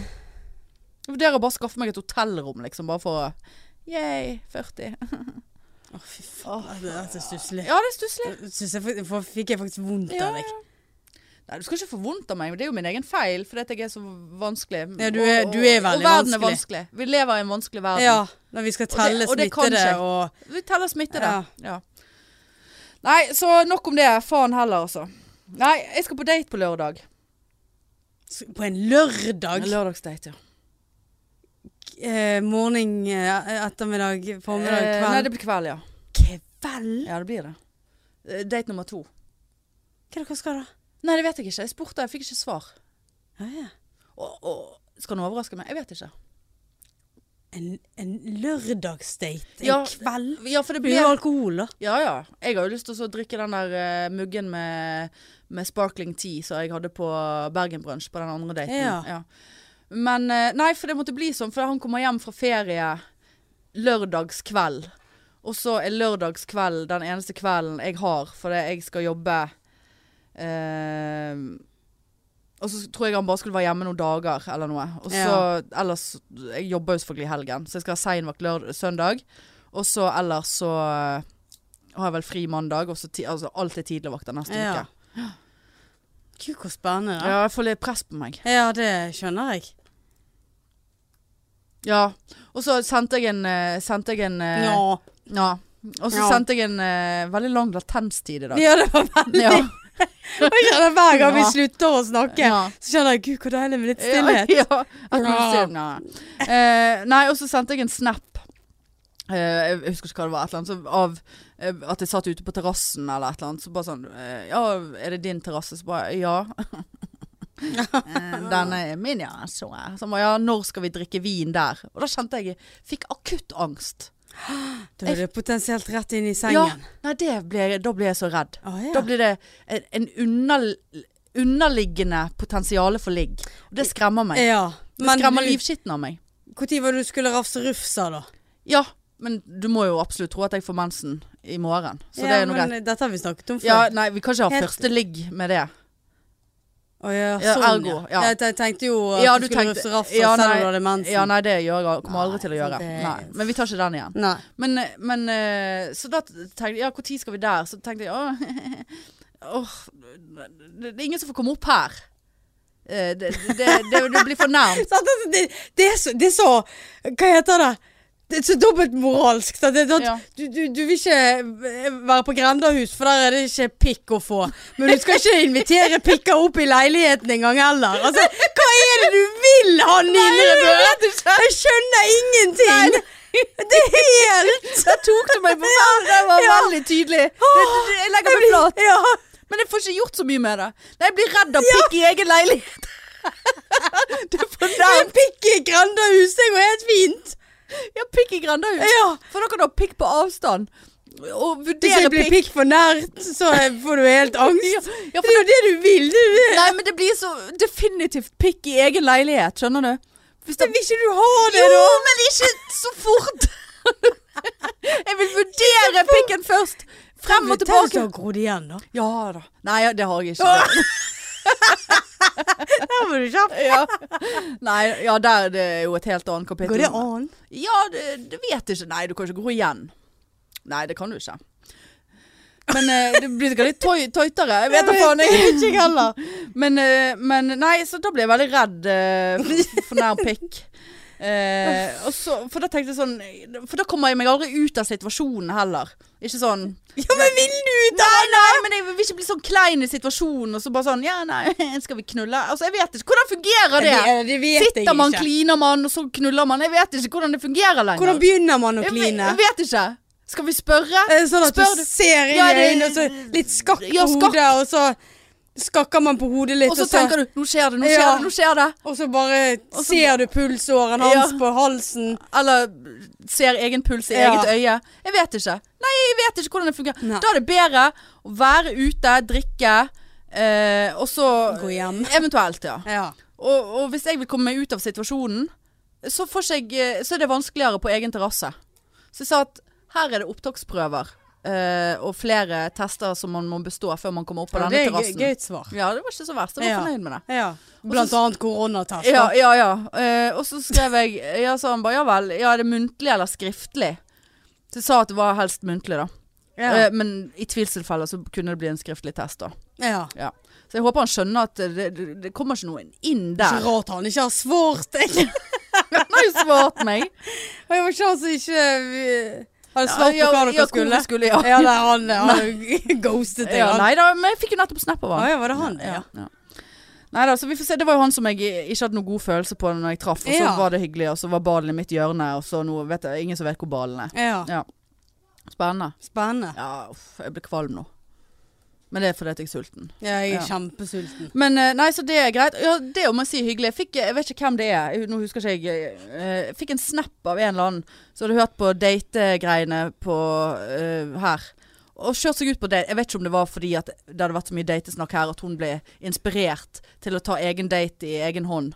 Speaker 1: Jeg vurderer bare å skaffe meg et hotellrom, liksom. Bare for å- Yay, 40.
Speaker 2: Å, fy faen. Det er så stusslig.
Speaker 1: Ja, det er stusslig.
Speaker 2: Synes jeg, fak- for, fikk jeg faktisk vondt
Speaker 1: Ja,
Speaker 2: av deg.
Speaker 1: Nei, du skal ikke få vondt av meg. men Det er jo min egen feil, fordi at jeg er så vanskelig.
Speaker 2: Ja, du er-
Speaker 1: Og-
Speaker 2: du er
Speaker 1: Og verden
Speaker 2: veldig
Speaker 1: er
Speaker 2: vanskelig.
Speaker 1: vanskelig. Vi lever i en vanskelig verden.
Speaker 2: Ja, når vi skal
Speaker 1: det-
Speaker 2: telle
Speaker 1: og det kan
Speaker 2: smittede
Speaker 1: ikke.
Speaker 2: og
Speaker 1: Vi teller smitte
Speaker 2: Ja.
Speaker 1: der. Ja. Nei, så nok om det. Faen heller, altså. Nei, jeg skal på date på lørdag.
Speaker 2: S- På en lørdag?
Speaker 1: Lørdagsdate, ja.
Speaker 2: eh, morgen, eh, ettermiddag, formiddag,
Speaker 1: Eh, nei,
Speaker 2: kveld?
Speaker 1: det blir kveld, ja.
Speaker 2: Kveld?
Speaker 1: Ja, det blir det. Eh, Date nummer to.
Speaker 2: Hva er det dere skal da?
Speaker 1: Nei, det vet jeg ikke. Jeg spurte, jeg fikk ikke svar.
Speaker 2: Ja, ja.
Speaker 1: Å, å, skal han overraske meg? Jeg vet ikke.
Speaker 2: En, en lørdagsdate? En
Speaker 1: Ja,
Speaker 2: kveld?
Speaker 1: Ja, for det
Speaker 2: Det
Speaker 1: blir
Speaker 2: blir jo alkohol, da.
Speaker 1: Ja ja. Jeg har jo lyst til å så drikke den der eh, muggen med, med sparkling tea som jeg hadde på Bergen Brunch på den andre daten.
Speaker 2: Ja.
Speaker 1: Men eh, Nei, for det måtte bli sånn, for han kommer hjem fra ferie lørdagskveld. Og så er lørdagskveld den eneste kvelden jeg har, fordi jeg skal jobbe eh, Og så tror jeg han bare skulle være hjemme noen dager eller noe. Og så, Ellers Jeg jobber jo selvfølgelig i helgen, så jeg skal ha seinvakt lørd- søndag. Og så ellers så eh, har jeg vel fri mandag, og så ti, altså, alt er tidligvakter neste
Speaker 2: Ja.
Speaker 1: uke.
Speaker 2: Gud, hvor spennende.
Speaker 1: Ja,
Speaker 2: da.
Speaker 1: jeg får litt press på meg.
Speaker 2: Ja, det skjønner jeg.
Speaker 1: Ja. Og så sendte jeg en, eh, sendte jeg en eh,
Speaker 2: Ja.
Speaker 1: ja. Og så
Speaker 2: Ja.
Speaker 1: sendte jeg en eh, veldig lang latenstid i dag.
Speaker 2: ja, det var veldig
Speaker 1: Ja.
Speaker 2: Jeg kjenner Hver gang vi
Speaker 1: Ja.
Speaker 2: slutter å snakke,
Speaker 1: Ja.
Speaker 2: så kjenner jeg Gud, hvor deilig med litt stillhet.
Speaker 1: Ja, ja. At man
Speaker 2: Bra.
Speaker 1: ser- nei. Eh, nei, og så sendte jeg en snap. eh, jeg husker ikke hva det var, et eller annet, så av eh, at jeg satt ute på terrassen eller et eller annet. Så bare sånn eh, Ja, er det din terrasse? Så bare ja. Eh, Denne er min, ja. Så jeg. Så bare, ja, når skal vi drikke vin der? Og da kjente jeg Fikk akutt angst.
Speaker 2: Da er det potensielt rett inn i
Speaker 1: Ja,
Speaker 2: sengen.
Speaker 1: nei, det ble, da ble jeg så redd.
Speaker 2: Å, ja.
Speaker 1: Da blir det en, en under, underliggende potensiale for ligg. Og det skremmer meg.
Speaker 2: ja.
Speaker 1: Det skremmer
Speaker 2: Eh, du-
Speaker 1: livskitten av meg.
Speaker 2: Når var det du skulle rafse rufsa, da?
Speaker 1: Ja, men du må jo absolutt tro at jeg får mensen i morgen. Så det er noe greit.
Speaker 2: men Dette har vi snakket om før.
Speaker 1: Ja, nei, vi kan ikke ha
Speaker 2: Helt-
Speaker 1: første ligg med det.
Speaker 2: Å ja,
Speaker 1: Ja,
Speaker 2: sånn,
Speaker 1: ergo,
Speaker 2: ja.
Speaker 1: ja.
Speaker 2: Jeg te- tenkte jo at
Speaker 1: Ja,
Speaker 2: du
Speaker 1: du
Speaker 2: skulle
Speaker 1: tenkte-
Speaker 2: rufse rafsa
Speaker 1: ja,
Speaker 2: selv om
Speaker 1: nei.
Speaker 2: du hadde mensen.
Speaker 1: Ja, nei, det gjør jeg, kommer jeg aldri
Speaker 2: Nei,
Speaker 1: til å gjøre.
Speaker 2: det-
Speaker 1: Nei, men vi tar ikke den igjen.
Speaker 2: Nei.
Speaker 1: Men, men eh, Så da tenkte jeg Ja, når skal vi der? Så tenkte jeg åh, åh Det det er ingen som får komme opp her. Eh, Det, det, det, det blir for nærmt.
Speaker 2: Sant, altså, det, det, er så, det er så Hva heter det? Det er så dobbeltmoralsk. sant? Det er sånn-
Speaker 1: Ja.
Speaker 2: du, du, du vil ikke eh, være på grendahus, for der er det ikke pikk å få. Men du skal ikke invitere pikker opp i leiligheten engang heller. Altså, hva er det du vil, han Nilrebø? Jeg skjønner ingenting. Det er helt
Speaker 1: Der tok du meg på verden! Det var
Speaker 2: Ja.
Speaker 1: veldig tydelig. Det, det, det, jeg legger meg flat.
Speaker 2: Ja.
Speaker 1: Men jeg får ikke gjort så mye med det. Nei, jeg blir redd av pikk i egen leilighet. det er for
Speaker 2: Men
Speaker 1: nærmt.
Speaker 2: pikk i grendahus, det går helt fint.
Speaker 1: Ja, pikk i grendehus.
Speaker 2: Ja.
Speaker 1: For da kan du ha pikk på avstand. Og
Speaker 2: Hvis
Speaker 1: vurdere
Speaker 2: det blir
Speaker 1: pikk.
Speaker 2: pikk for nært, så får du helt angst.
Speaker 1: Ja,
Speaker 2: Det er
Speaker 1: for,
Speaker 2: jo det du vil. Det er jo det.
Speaker 1: nei, men det blir så definitivt pikk i egen leilighet, skjønner du? Hvis det,
Speaker 2: Vil ikke du ha det,
Speaker 1: jo,
Speaker 2: da?
Speaker 1: men ikke så fort! jeg vil vurdere pikken først. Frem og tilbake.
Speaker 2: og grodd igjen, da.
Speaker 1: Ja da. Nei, ja, det har jeg ikke.
Speaker 2: Der var du kjapp.
Speaker 1: Ja. Nei, ja, der er det jo et helt annet kapittel.
Speaker 2: Går det an?
Speaker 1: Ja, det, det vet jeg ikke. Nei, du kan ikke gro igjen. Nei, det kan du ikke. Men eh, det blir sikkert litt tøy, tøytere. Jeg vet da faen. jeg.
Speaker 2: Ikke jeg heller.
Speaker 1: Men, eh, men nei, så da ble jeg veldig redd eh, for nær pikk. Eh, og så, for da tenkte jeg sånn For da kommer jeg meg aldri ut av situasjonen heller. Ikke sånn
Speaker 2: Ja, men vil du ut av
Speaker 1: Nei, nei, men jeg vil ikke bli sånn klein i situasjonen og så bare sånn Ja, nei, skal vi knulle? Altså, jeg vet ikke. Hvordan fungerer det?
Speaker 2: Det, det vet jeg
Speaker 1: Sitter man,
Speaker 2: ikke.
Speaker 1: kliner man, og så knuller man? Jeg vet ikke hvordan det fungerer lenger.
Speaker 2: Hvordan begynner man å
Speaker 1: Jeg ve-
Speaker 2: kline?
Speaker 1: Jeg vet ikke. Skal vi spørre?
Speaker 2: Eh, Sånn at
Speaker 1: Spør
Speaker 2: du
Speaker 1: du-
Speaker 2: ser inn
Speaker 1: Ja,
Speaker 2: i
Speaker 1: det-
Speaker 2: øynene, og så litt skakk på
Speaker 1: Ja, skakk.
Speaker 2: hodet, og så skakker man på hodet litt,
Speaker 1: Og så tenker du 'nå skjer det, nå skjer
Speaker 2: Ja.
Speaker 1: det', nå skjer det.
Speaker 2: og så bare
Speaker 1: Og så-
Speaker 2: ser du pulsåren hans
Speaker 1: Ja.
Speaker 2: på halsen.
Speaker 1: Eller ser egen puls i
Speaker 2: Ja.
Speaker 1: eget øye. Jeg vet ikke. Nei, jeg vet ikke hvordan det fungerer.
Speaker 2: Nei.
Speaker 1: Da er det bedre å være ute, drikke, eh, og så
Speaker 2: Gå hjem.
Speaker 1: Eventuelt, ja.
Speaker 2: Ja.
Speaker 1: Og, og hvis jeg vil komme meg ut av situasjonen, så, får ikke jeg, eh, så er det vanskeligere på egen terrasse. Så jeg sa at her er det opptaksprøver eh, og flere tester som man må bestå før man kommer opp på
Speaker 2: Ja, det
Speaker 1: denne
Speaker 2: er gøy,
Speaker 1: terrassen.
Speaker 2: gøy svar.
Speaker 1: Ja, det var ikke så verst. Jeg var
Speaker 2: Ja.
Speaker 1: fornøyd med det.
Speaker 2: Ja. Blant annet koronatester.
Speaker 1: Ja, ja, ja. Eh, og så skrev jeg Ja, sa han bare ja vel. Ja, er det muntlig eller skriftlig? Så jeg sa at det var helst muntlig, da.
Speaker 2: Ja.
Speaker 1: Eh, men i tvilstilfeller så kunne det bli en skriftlig test, da.
Speaker 2: ja.
Speaker 1: Ja. Så jeg håper han skjønner at det, det, det kommer ikke noen inn
Speaker 2: Ikke
Speaker 1: der.
Speaker 2: rart han ikke har svart. Jeg,
Speaker 1: Han har jo svart meg.
Speaker 2: jeg var ikke han som ikke eh, hadde
Speaker 1: Ja,
Speaker 2: svart på
Speaker 1: ja,
Speaker 2: hva dere
Speaker 1: ja, hvor
Speaker 2: skulle.
Speaker 1: vi skulle. Ja.
Speaker 2: Ja, nei, han, han ghostet deg.
Speaker 1: Ja,
Speaker 2: han.
Speaker 1: nei da, men jeg fikk jo nettopp snap av
Speaker 2: Å
Speaker 1: han.
Speaker 2: ja, var det han? Ja.
Speaker 1: Nei da, så vi får se. Det var jo han som jeg ikke hadde noen god følelse på når jeg traff, og så
Speaker 2: Ja.
Speaker 1: var det hyggelig, og så var ballen i mitt hjørne, og så nå vet jeg ingen som vet hvor ballen er.
Speaker 2: ja.
Speaker 1: Ja. Spennende.
Speaker 2: Spennende.
Speaker 1: Ja, uff, jeg blir kvalm nå. Men det er fordi at jeg er sulten.
Speaker 2: Ja, jeg er
Speaker 1: Ja.
Speaker 2: kjempesulten.
Speaker 1: Men eh, nei, så det er greit. Ja, det om jeg sier hyggelig. Jeg fikk, jeg vet ikke hvem det er, Jeg- nå husker ikke jeg. eh, Jeg fikk en snap av en eller annen som hadde hørt på dategreiene på eh, her. Og kjørt seg ut på date. Jeg vet ikke om det var fordi at det hadde vært så mye datesnakk her at hun ble inspirert til å ta egen date i egen hånd.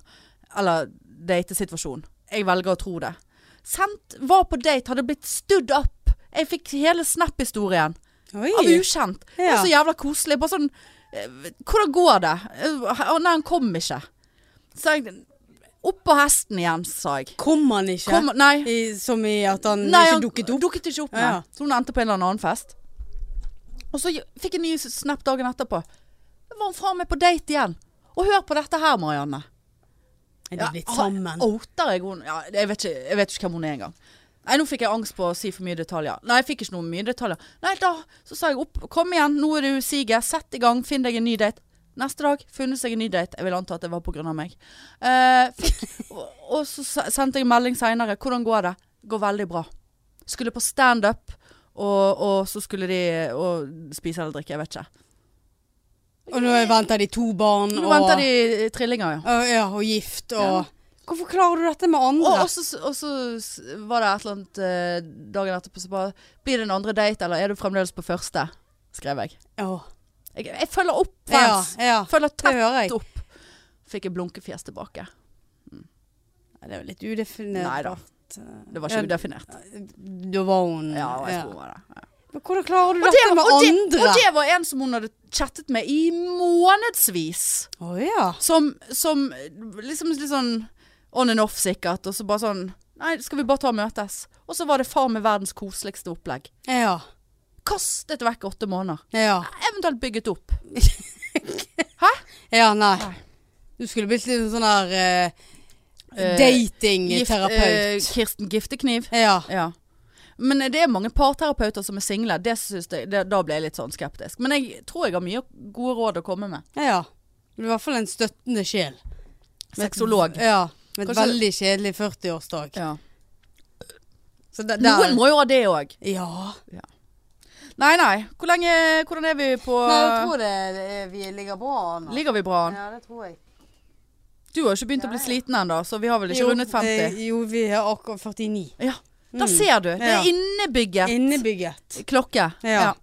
Speaker 1: Eller datesituasjon. Jeg velger å tro det. Sendt, var på date, hadde blitt stood up. Jeg fikk hele snap-historien
Speaker 2: Oi.
Speaker 1: av ukjent. Det var
Speaker 2: Ja.
Speaker 1: så jævla koselig. Bare sånn eh, Hvordan går det? Eh, Å nei, han kom ikke. Så jeg Opp på hesten igjen, sa jeg.
Speaker 2: Kom han ikke?
Speaker 1: Kom, nei.
Speaker 2: I, som i at han
Speaker 1: nei
Speaker 2: ikke
Speaker 1: han
Speaker 2: dukket opp?
Speaker 1: Dukket ikke opp, nei.
Speaker 2: Ja, ja.
Speaker 1: Så hun endte på en eller annen fest. Og så fikk jeg en ny snap dagen etterpå. Da var hun fra meg på date igjen. Og hør på dette her, Marianne.
Speaker 2: Er de blitt sammen?
Speaker 1: ah, Outer jeg henne? Ja, jeg, vet ikke, jeg vet ikke hvem hun er engang. Nei, nå fikk jeg angst på å si for mye detaljer. Nei, jeg fikk ikke noe mye detaljer. Nei, da så sa jeg opp. Kom igjen, nå er du siget. Sett i gang, finn deg en ny date. Neste dag funnet seg en ny date. Jeg vil anta at det var på grunn av meg. Eh, fikk, og, og så se- sendte jeg en melding seinere. Hvordan går det? Går veldig bra. Skulle på standup, og, og så skulle de og spise eller drikke. Jeg vet ikke.
Speaker 2: Og nå venter de to barn
Speaker 1: Nå
Speaker 2: og,
Speaker 1: venter de eh, trillinger, ja.
Speaker 2: og, ja, og gift og Hvorfor klarer du dette med andre?
Speaker 1: Og, og, så, og så s- var det et eller annet eh, dagen etterpå så bare Blir det en andre date, eller er du fremdeles på første? Skrev jeg.
Speaker 2: Åh.
Speaker 1: Jeg, jeg følger opp,
Speaker 2: Ja,
Speaker 1: Frans.
Speaker 2: ja.
Speaker 1: Følger
Speaker 2: Det
Speaker 1: tett
Speaker 2: hører jeg.
Speaker 1: opp. Fikk jeg blunkefjes tilbake.
Speaker 2: Nei, Det er jo litt udefinert.
Speaker 1: Nei da. Det var
Speaker 2: Ja,
Speaker 1: ikke udefinert.
Speaker 2: Da var hun
Speaker 1: Ja, jeg
Speaker 2: ja.
Speaker 1: tror det var det. Ja.
Speaker 2: Men hvordan klarer
Speaker 1: Og
Speaker 2: du
Speaker 1: det,
Speaker 2: dette med
Speaker 1: og, det,
Speaker 2: andre?
Speaker 1: og det var en som hun hadde chattet med i månedsvis.
Speaker 2: Å ja.
Speaker 1: Som, som liksom litt sånn on and off sikkert. Og så bare sånn Nei, skal vi bare ta og møtes? Og så var det far med verdens koseligste opplegg.
Speaker 2: Ja.
Speaker 1: Kastet vekk åtte måneder.
Speaker 2: Ja.
Speaker 1: Eventuelt bygget opp.
Speaker 2: ja nei.
Speaker 1: Nei.
Speaker 2: Du skulle blitt litt sånn der eh,
Speaker 1: Eh,
Speaker 2: datingterapeut.
Speaker 1: eh, Kirsten Giftekniv.
Speaker 2: ja.
Speaker 1: Ja. Men eh, det er mange parterapeuter som er single. Det synes jeg, det, da ble jeg litt sånn skeptisk. Men jeg tror jeg har mye gode råd å komme med.
Speaker 2: ja. ja. Du er i hvert fall en støttende sjel. Med et-
Speaker 1: Sexolog.
Speaker 2: Ja. Med et
Speaker 1: Kanskje-
Speaker 2: veldig kjedelig 40-årsdag.
Speaker 1: Ja.
Speaker 2: Så det- der-
Speaker 1: Noen må jo ha det òg.
Speaker 2: Ja.
Speaker 1: Nei, nei. Hvor lenge, hvordan er vi på
Speaker 2: det vi ligger bra an.
Speaker 1: Ligger vi bra an?
Speaker 2: Ja, det tror jeg.
Speaker 1: Du har jo ikke begynt å bli sliten ennå, så vi har vel ikke rundet 50?
Speaker 2: eh, Jo, vi er akkurat 49.
Speaker 1: Ja. Da ser du. Det
Speaker 2: mm. Ja.
Speaker 1: er innebygget
Speaker 2: Innebygget.
Speaker 1: klokke.
Speaker 2: Ja.
Speaker 1: Ja.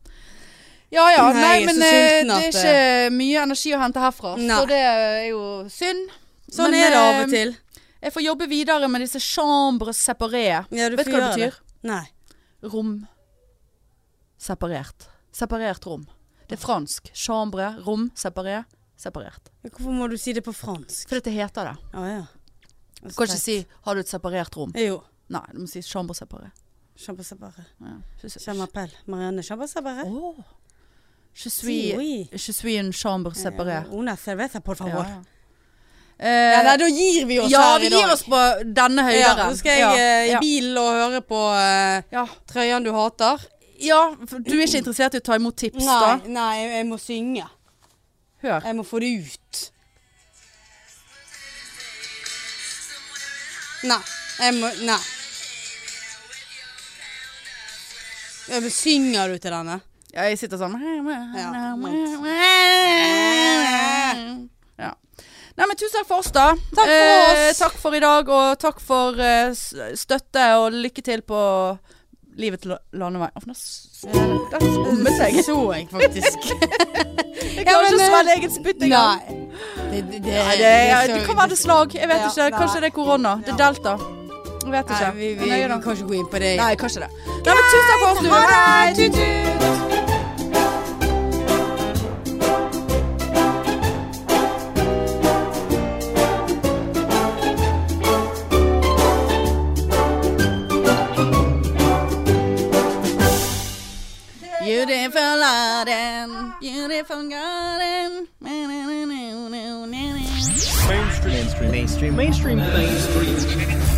Speaker 1: Ja ja,
Speaker 2: Nei,
Speaker 1: nei,
Speaker 2: jeg er
Speaker 1: men
Speaker 2: så
Speaker 1: eh,
Speaker 2: sulten
Speaker 1: det er
Speaker 2: at,
Speaker 1: ikke mye energi å hente herfra,
Speaker 2: Nei.
Speaker 1: så det er jo synd.
Speaker 2: Sånn
Speaker 1: Men,
Speaker 2: er det av
Speaker 1: eh,
Speaker 2: og til.
Speaker 1: Jeg får jobbe videre med disse chambre separé.
Speaker 2: Ja, du
Speaker 1: Vet du
Speaker 2: får
Speaker 1: hva det
Speaker 2: gjøre
Speaker 1: betyr?
Speaker 2: Nei.
Speaker 1: Rom separert. Separert rom. Det er fransk. Chambre, rom, separé, separert.
Speaker 2: Hvorfor må du si det på fransk?
Speaker 1: Fordi det heter det.
Speaker 2: Å ja.
Speaker 1: Du kan ikke si 'har du et separert rom'?
Speaker 2: Jo.
Speaker 1: Nei, du må si 'chambre separé'.
Speaker 2: Champagne-sabare.
Speaker 1: Ja. Je suis-
Speaker 2: Chamappel. Marianne Champagne-sabare.
Speaker 1: Åh. Je suis, je suis en chambre separé.
Speaker 2: Eh, Una cerveza, por favor.
Speaker 1: Ja. Eh,
Speaker 2: Ja, nei, da gir vi oss
Speaker 1: ja,
Speaker 2: her
Speaker 1: vi
Speaker 2: i dag.
Speaker 1: gir oss på denne
Speaker 2: Ja,
Speaker 1: høyderen.
Speaker 2: nå skal jeg
Speaker 1: ja.
Speaker 2: eh, i
Speaker 1: ja.
Speaker 2: bilen og høre på eh,
Speaker 1: Ja.
Speaker 2: Trøyen du hater.
Speaker 1: ja, for du er ikke interessert i å ta imot tips,
Speaker 2: Nei,
Speaker 1: da?
Speaker 2: nei, jeg- jeg må synge.
Speaker 1: Hør.
Speaker 2: Jeg må få det ut. Nei. Jeg må Nei. Ja, men Synger du til denne?
Speaker 1: Ja, jeg sitter sånn
Speaker 2: Ja,
Speaker 1: ja. Nei, men tusen takk for oss, da.
Speaker 2: for
Speaker 1: Eh,
Speaker 2: oss.
Speaker 1: takk for i dag, og takk for eh, s- støtte, og lykke til på livet til la- landevei. Å, for nå s- Der skummet jeg.
Speaker 2: Så jeg faktisk.
Speaker 1: Jeg
Speaker 2: Ja,
Speaker 1: klarer
Speaker 2: men,
Speaker 1: ikke å
Speaker 2: eh,
Speaker 1: svelge egen spytt engang.
Speaker 2: Nei. Det, Eh, det,
Speaker 1: Nei, Det, er- det kan være det slag. Jeg vet
Speaker 2: Ja,
Speaker 1: ikke.
Speaker 2: nei.
Speaker 1: Kanskje det er korona. Det er delta. Jeg vet
Speaker 2: Nei,
Speaker 1: ikke.
Speaker 2: vi, vi,
Speaker 1: Men
Speaker 2: vi
Speaker 1: jeg gjør
Speaker 2: kan
Speaker 1: det.
Speaker 2: ikke gå inn på det.
Speaker 1: Nei, kanskje det. Nei, men tusen takk for oss, du.
Speaker 2: Ha det.
Speaker 1: Tut-tut. Beautiful Laden, beautiful garden.
Speaker 3: mainstream mainstream mainstream mainstream mainstream